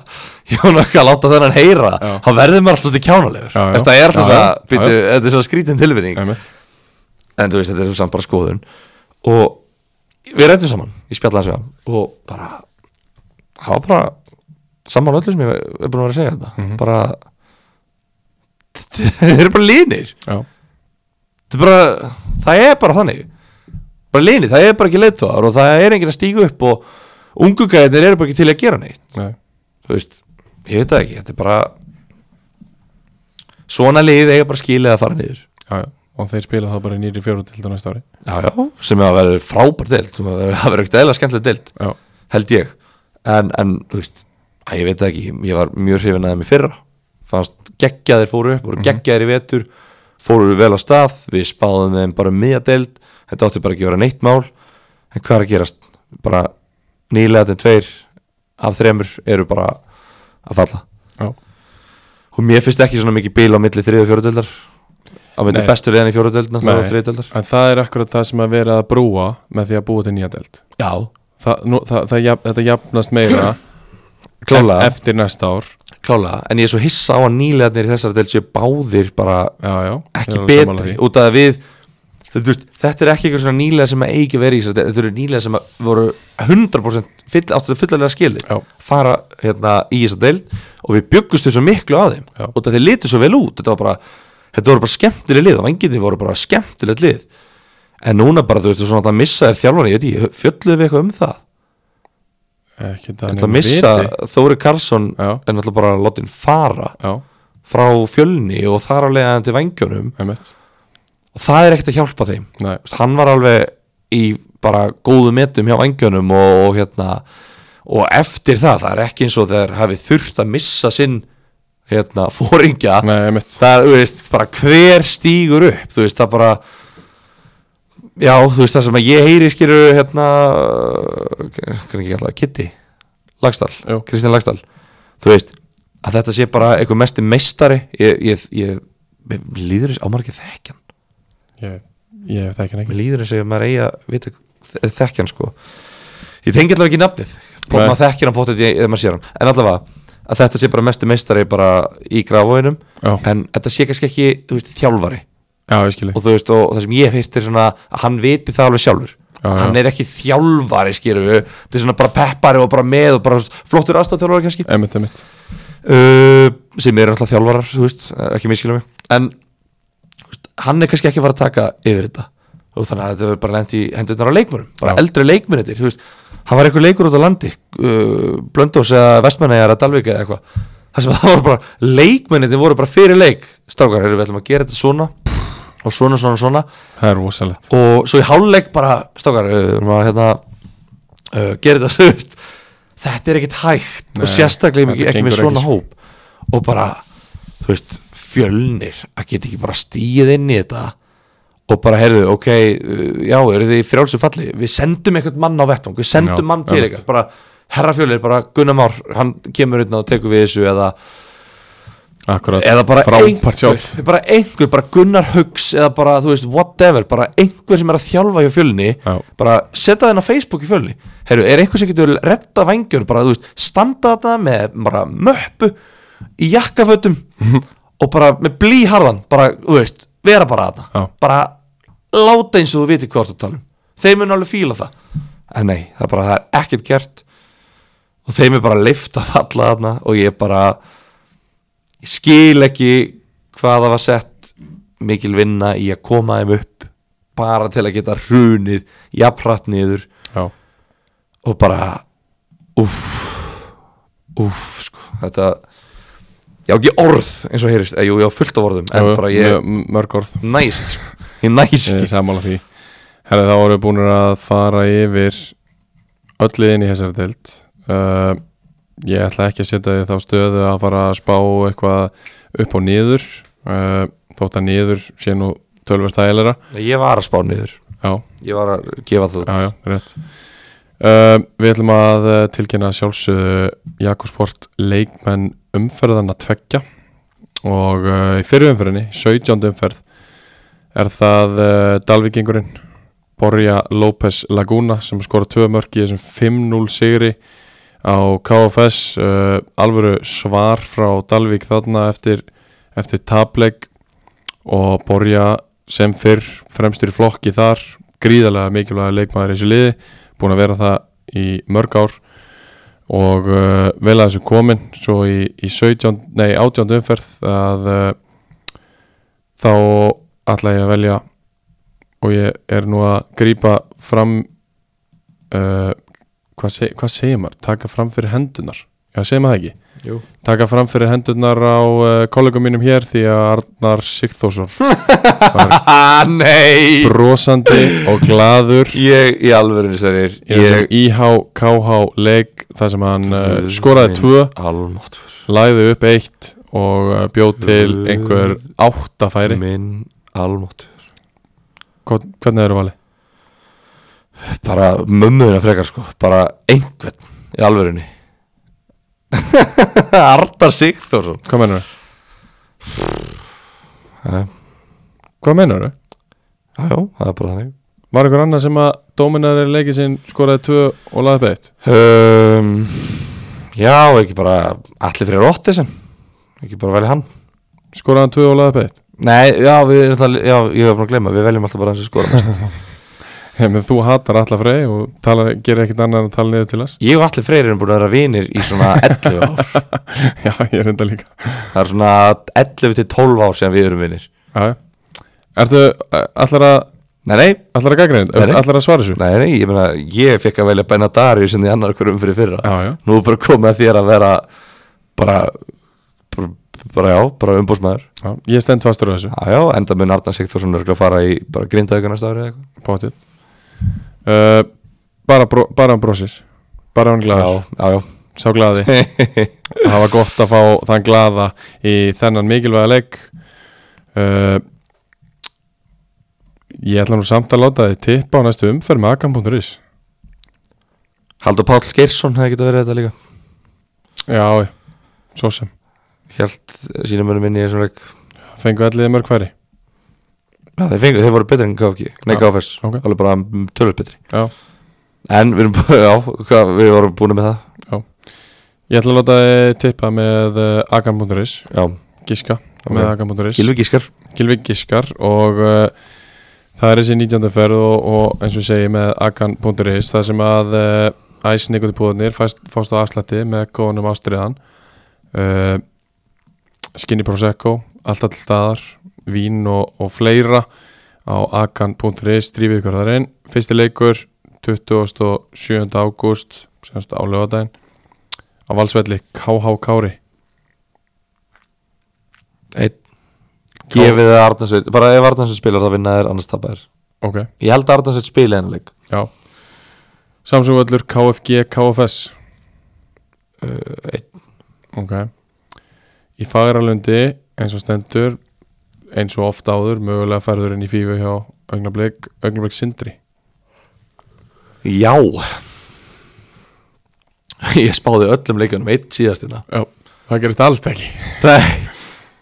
Speaker 3: ég var nú eitthvað að láta þennan heyra
Speaker 2: Já.
Speaker 3: þá verður maður alltaf til kjánalegur
Speaker 2: Já, já.
Speaker 3: þetta er
Speaker 2: Já,
Speaker 3: alltaf svona,
Speaker 2: já.
Speaker 3: býtu,
Speaker 2: Já,
Speaker 3: þetta er svona skrítin tilfinning
Speaker 2: emmett
Speaker 3: en þú veist, þetta er samt bara skoðun og við rættum saman ég spjalla hans við hann og bara hann var bara sammála öllu sem ég er búin að vera að segja þetta bara þeir eru bara línir
Speaker 2: já,
Speaker 3: það er bara, það er bara þannig bara línið, það er bara ekki leittóðar og það er enginn að stíga upp og ungu gæðir eru bara ekki til að gera neitt
Speaker 2: nei,
Speaker 3: þú veist, ég veit það ekki, þetta er bara svona lið eiga bara skilið að fara niður
Speaker 2: já, já og þeir spila það bara í nýri fjóru til næsta ári
Speaker 3: já, já, sem að verður frábær deild sem að verður- það verður ekkert eðla skemmtileg deild
Speaker 2: já,
Speaker 3: held ég, en, en þú veist að ég veit það ekki, ég var mjög hrifin að þeim í fyrra, fannst geggjaðir fóru upp, voru geggjaðir í vetur fóru vel á stað, við spáðum þeim bara miða deild, þetta átti bara ekki að vera neitt mál, en hvað er að gerast bara nýlega þeim tveir af þremur eru bara að falla,
Speaker 2: já,
Speaker 3: og mér finnst ekki svona mikið bíl á milli þriðu og fjóru deildar á milli
Speaker 2: Nei.
Speaker 3: bestu liðan í fjóru deildina þá
Speaker 2: Nei.
Speaker 3: þriðu deildar,
Speaker 2: en það er akkurat það sem að vera að brúa með því að búa til nýja delt
Speaker 3: já,
Speaker 2: það, nú, það, það, jafn, þetta jafnast meira
Speaker 3: klálega
Speaker 2: ef- eftir næsta ár
Speaker 3: Klálega, en ég er svo hissa á að nýlegarnir í þessari del séu báðir bara
Speaker 2: já, já, ég er
Speaker 3: ekki
Speaker 2: alveg sammála
Speaker 3: betri
Speaker 2: því.
Speaker 3: út af að við þú veist, þetta er ekki eitthvað svona nýlega sem að eigi að vera í þessari deild, þetta eru nýlega sem að voru 100% full, áttu fullalega skilið
Speaker 2: Já.
Speaker 3: fara hérna í þessari deild og við byggustu svo miklu að þeim
Speaker 2: Já.
Speaker 3: út af þeir litu svo vel út þetta, var bara, þetta voru bara skemmtileg lið og vanginni voru bara skemmtilegt lið en núna bara þú veist svona að missa þér þjálfan ég veit ég, fjölluðu við eitthvað um það
Speaker 2: ekki það
Speaker 3: Ætla að
Speaker 2: nema
Speaker 3: missa
Speaker 2: viti.
Speaker 3: Þóri Karlsson
Speaker 2: Já.
Speaker 3: en alltaf bara látin fara
Speaker 2: já,
Speaker 3: frá fjölni og þar af leiðandi vangjónum
Speaker 2: emmett,
Speaker 3: og það er ekkert að hjálpa þeim
Speaker 2: nei,
Speaker 3: Þú veist, hann var alveg í bara góðu metum hjá vangjónum og, og hérna og eftir það, það er ekki eins og þeir hafi þurft að missa sinn hérna, fóringja
Speaker 2: nei, emmett
Speaker 3: það er, þú veist, bara hver stígur upp þú veist, það bara já, þú veist, það sem að ég heyri skilur, hérna hvernig ekki alltaf, Kitty Lagstall,
Speaker 2: Jú.
Speaker 3: Kristján Lagstall þú veist, að þetta sé bara eitthvað mesti meistari, ég, ég, ég mér líður þess, ámar ekki þekkjan
Speaker 2: ég, ég þekki hann ekki
Speaker 3: mér líður þess að maður eigi að vita þe- þekkjan, sko ég tengi allavega ekki nafnið,
Speaker 2: Nei.
Speaker 3: maður þekkir hann bóttið eða maður sér hann, en allavega að þetta sé bara mesti meistari bara í grafóinum
Speaker 2: já,
Speaker 3: en þetta sé kannski ekki, þú veist, þjálfari
Speaker 2: já, ég skilji
Speaker 3: og þú veist, og það sem ég hef heyrt er svona að hann viti það alveg sjálfur
Speaker 2: Já, já.
Speaker 3: hann er ekki þjálfari skilur við þetta er svona bara peppari og bara með og bara flottur aðstæðþjálfari kannski
Speaker 2: Emmett, emmett
Speaker 3: uh, sem eru alltaf þjálfarar þú veist, ekki miskila mig en þú veist, hann er kannski ekki að fara að taka yfir þetta og þannig að þetta verður bara lent í hendurnar á leikmönum bara
Speaker 2: Já.
Speaker 3: eldri leikmönir þú veist, hann var einhver leikur út á landi uh, Blöndós eða Vestmannegar að Dalvik eða eitthvað það sem það voru bara leikmönir voru bara fyrir leik strákar, heyrðu, við ætlum að gera þetta svona og svona, svona, svona
Speaker 2: Það er rosalegt
Speaker 3: og svo í hálfleik bara stókar, uh, um að, hérna, uh, gera þetta þú veist, þetta er ekkit hægt
Speaker 2: Nei,
Speaker 3: og sérstaklega ekki,
Speaker 2: þetta
Speaker 3: ekki með
Speaker 2: gengur ekki,
Speaker 3: svona
Speaker 2: sko.
Speaker 3: hóp og bara, þú veist, fjölnir að geta ekki bara stíð inn í þetta og bara, heyrðu, ok uh, já, eru þið í frjálsum falli við sendum eitthvað mann á vettvang, við sendum
Speaker 2: Já,
Speaker 3: mann til
Speaker 2: einmitt.
Speaker 3: eitthvað, bara herra fjölnir, bara Gunnar Már hann kemur hérna og tekur við þessu eða
Speaker 2: Akkurat
Speaker 3: eða bara
Speaker 2: Frábært
Speaker 3: einhver,
Speaker 2: sjátt
Speaker 3: bara einhver, bara Gunnar Huggs eða bara, þú veist, whatever, bara einhver sem er að þjálfa hjá fjölni,
Speaker 2: Já.
Speaker 3: bara setja þenn á Facebook í fjölni, herru, er einhver sem getur retta vængjur, bara, þú veist, standa þetta með bara möppu í jakkafötum og bara með blíharðan, bara, þú veist vera bara
Speaker 2: Já.
Speaker 3: þetta, bara láta eins og þú viti hvort þú talum þeim mun um. alveg fíla það en nei, það er bara, það er ekkert gert og þeim er bara leift að falla þarna og ég bara ég skil ekki hvað það var sett mikil vinna í að koma þeim upp bara til að geta hrunið jafnrætt niður
Speaker 2: Já,
Speaker 3: og bara uff uff sko, þetta ég á ekki orð eins og heyrist, eh, jú, ég á fullt af orðum en
Speaker 2: Jú,
Speaker 3: bara ég
Speaker 2: mjög- mörg orð
Speaker 3: næs ekki, sko. ég næs
Speaker 2: Ég er
Speaker 3: ekki
Speaker 2: sammála því Herra þá voru búin að fara yfir öll liðin í þessari deild uh, Ég ætla ekki að setja því þá stöðu að fara að spá eitthvað upp og niður uh, Þótt að niður sé nú tölver þægilega
Speaker 3: ég var að spá niður,
Speaker 2: Já,
Speaker 3: ég var að gefa það
Speaker 2: já, já, rétt uh, Við ætlum að uh, tilkynna sjálfsögðu Jakobsport leikmenn umferðan að tveggja og uh, í fyrir umferðinni, 17. umferð er það uh, Dalvíkingurinn Borja López Laguna sem skora tvö mörk í þessum 5-0 sigri á KFS uh, alvöru svar frá Dalvík þarna eftir, eftir tableg og Borja sem fyrr fremstur í flokki þar gríðarlega mikilvæga leikmaður í þessu liði búin að vera það í mörg ár og uh, vel að þessu komin svo í, í 17, nei, 18 umferð að uh, þá ætla ég að velja og ég er nú að grípa fram uh, hvað, seg, hvað segir maður? taka fram fyrir hendunar já, segir maður það ekki?
Speaker 3: Jú.
Speaker 2: taka fram fyrir hendunar á uh, kollegum mínum hér því að Arnar Sigþórsson var
Speaker 3: Ah, nei
Speaker 2: brosandi og gladur í
Speaker 3: Ég, í alvörinu sérir
Speaker 2: þessum
Speaker 3: Ég
Speaker 2: IHKH leik þar sem hann uh,
Speaker 3: Guð
Speaker 2: skoraði
Speaker 3: minn.
Speaker 2: tvö,
Speaker 3: Almáttur
Speaker 2: lagði upp eitt og uh, bjóð til einhver áttafæri
Speaker 3: Minn almáttur
Speaker 2: Hvort- hvernig eru valið?
Speaker 3: Bara mömmuðina frekar sko Bara einhvern í alvörinu Arta Sigþórsson
Speaker 2: Hvað mennur þau?
Speaker 3: Já,
Speaker 2: Hvað mennur þau?
Speaker 3: já, það er bara þannig
Speaker 2: Var einhver annar sem að dóminari leikið sinn skoraði tvö og lagði upp eitt?
Speaker 3: um, Já, ekki bara Allir fyrir rótti sem Ekki bara velja hann
Speaker 2: Skoraði hann tvö og lagði upp eitt?
Speaker 3: Nei, já, við, erum alltaf- já ég hef búin að gleyma Við veljum alltaf bara hans sko. að skora mest.
Speaker 2: Hei, menn þú hatar allar frey og talar, gerir ekkit annar en tala niður til hans
Speaker 3: Ég og allir freyrir erum búin að vera vinir í svona 11 ár
Speaker 2: Já, ég er enda líka
Speaker 3: Það er svona 11 til 12 ár sem við erum vinir
Speaker 2: Já, já. Ertu uh, allar að
Speaker 3: Nei, nei,
Speaker 2: allar að gagnreynd?
Speaker 3: Nei, nei.
Speaker 2: Allar að svara þessu?
Speaker 3: nei, nei ég, meina, ég fekk að velja Benadari sem því annar hverjum fyrir fyrra
Speaker 2: Já, já
Speaker 3: Nú er bara komið að þér að vera bara, bara, bara já, bara umbúsmaður
Speaker 2: Já, ég stend fastur á þessu,
Speaker 3: Já, já, enda mun Arnar Sigþórsson örugglega að fara í bara grindaðugur næsta ári eða eitthvað
Speaker 2: bóttið uh, bara, bró, bara hann brosir Bara hann glaður,
Speaker 3: Já, já,
Speaker 2: sá glaði
Speaker 3: já
Speaker 2: Það var gott að fá þann glaða í þennan mikilvæga leik uh, Ég ætla nú samt að láta þið tippa á næstu umferð með akam.is
Speaker 3: Haldur Páll Geirsson hefði getað verið þetta líka
Speaker 2: Já, já, svo sem
Speaker 3: Hjælt sínum munum minni í þessum leik
Speaker 2: Fengu allir mörg færi
Speaker 3: Já, þeir, fengu, þeir voru betri en KFG Nei,
Speaker 2: Já,
Speaker 3: KFS,
Speaker 2: ok.
Speaker 3: alveg bara tölur betri
Speaker 2: Já,
Speaker 3: En við erum, bú- já, hvað, við vorum búin með það
Speaker 2: ég ætla að láta þið tippa með uh, akam.is
Speaker 3: Já,
Speaker 2: Giska
Speaker 3: Ok.
Speaker 2: með akam.is
Speaker 3: Gilvi Gískar
Speaker 2: Gilvi Giskar og uh, Það er þessi 19. ferð og, og eins og ég segi með akan.is það sem að uh, æsninguði púðunir fást á afslætti með góðunum ástriðan uh, Skinny Prosecco alltaf til staðar, vín og, og fleira á akan.is drífið ykkur þar inn fyrsti leikur 27. ágúst semst á lögadaginn á valsvelli KH Kári
Speaker 3: Einn Gefið það Arnarsveit Bara ef Arnarsveit spilar það vinna þér annars tapar þér
Speaker 2: ok,
Speaker 3: Ég held að Arnarsveit spili hennar leik
Speaker 2: já Samsung Völlur KFG KFS Eh,
Speaker 3: uh, Einn
Speaker 2: Ok Í Fagralundi eins og stendur eins og oft áður mögulega færður inn í fífu hjá Ögnablik Ögnablik Sindri
Speaker 3: Já Ég spáði öllum leikunum einn síðastina
Speaker 2: Já, það gerist alls ekki
Speaker 3: Nei,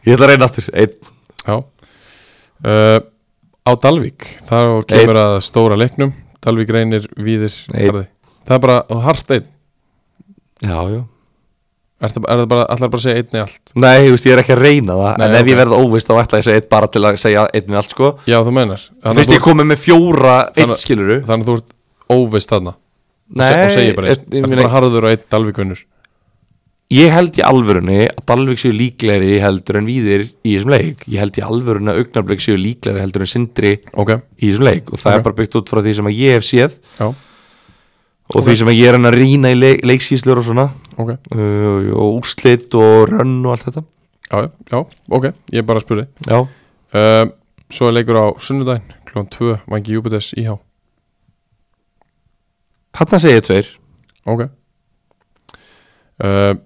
Speaker 3: ég ætla að reyna aftur Einn
Speaker 2: Já uh, Á Dalvík þar kemur að stóra leiknum Dalvík reynir víðir
Speaker 3: Einn.
Speaker 2: Garði. Það er bara og hart einn
Speaker 3: Já, já
Speaker 2: Er það, er það bara, allar bara að segja einn í allt
Speaker 3: Nei, þú veist, ég er ekki að reyna það
Speaker 2: Nei,
Speaker 3: En ef
Speaker 2: ok.
Speaker 3: ég verða óvist þá ætla ég að segja einn bara til að segja einn við allt sko
Speaker 2: Já, þú meinar
Speaker 3: Þú
Speaker 2: að
Speaker 3: veist, ég komið með fjóra einn
Speaker 2: Þannig-
Speaker 3: skiluru
Speaker 2: þannig að þú ert óvist þarna og se- og segir bara
Speaker 3: ég,
Speaker 2: einn
Speaker 3: ég,
Speaker 2: Ertu
Speaker 3: meina-
Speaker 2: bara harður og einn Dalvík vinnur
Speaker 3: ég held í alvörunni að Dalvik séu líklegri heldur en Víðir í þessum leik Ég held í alvörunni að Augnarblik séu líklegri heldur en Sindri
Speaker 2: Ok,
Speaker 3: í þessum leik og það
Speaker 2: Ok.
Speaker 3: er bara byggt út frá því sem að ég hef séð
Speaker 2: já,
Speaker 3: og því sem að ég er hann að rýna í leik, leiksýslur og svona
Speaker 2: ok
Speaker 3: uh, og úrslit og rönn og allt þetta
Speaker 2: Já, já, já, ok, ég bara spurði
Speaker 3: Já,
Speaker 2: um, Svo er leikur á sunnudaginn klón 2, vangi Júpiters íhá
Speaker 3: hann segi ég tveir
Speaker 2: Ok uh,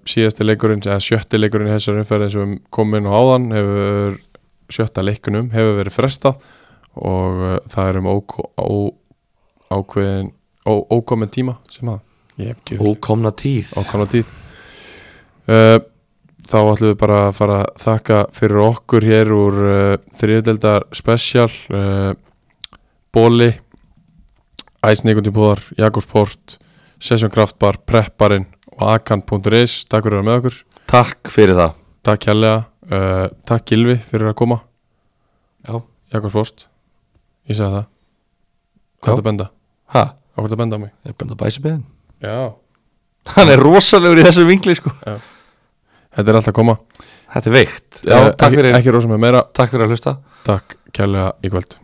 Speaker 2: Síðasti leikurinn, eða sjötti leikurinn í þessari umferðin sem við komum um inn á áðan hefur sjötta leikunum hefur verið frestað og uh, það er um ók, ó, ákveðin ó, ókomin tíma sem að ég hef ekki
Speaker 3: og komna tíð
Speaker 2: ákvæmna tíð uh, þá ætlum við bara að fara að þakka fyrir okkur hér úr uh, þriðdeldar special uh, Bóli Æsningundipúðar, Jakobsport Session Kraftbar, Prepparinn og Akan.is, takk fyrir að vera með okkur
Speaker 3: Takk fyrir það
Speaker 2: takk hérlega, uh, takk Gilvi fyrir að koma
Speaker 3: Já.
Speaker 2: Jakobsport, ég segi það
Speaker 3: Já.
Speaker 2: hvað er að benda?
Speaker 3: Ha,
Speaker 2: Hvað er að benda á mig?
Speaker 3: er bara að bæsa beðin
Speaker 2: Já.
Speaker 3: Hann er rosalegur í þessu vingli sko
Speaker 2: þetta er alltaf að koma
Speaker 3: Þetta er veikt
Speaker 2: Eh,
Speaker 3: Já, takk
Speaker 2: ekki,
Speaker 3: fyrir,
Speaker 2: ekki rosa með meira,
Speaker 3: takk fyrir að hlusta
Speaker 2: takk kærlega í kvöld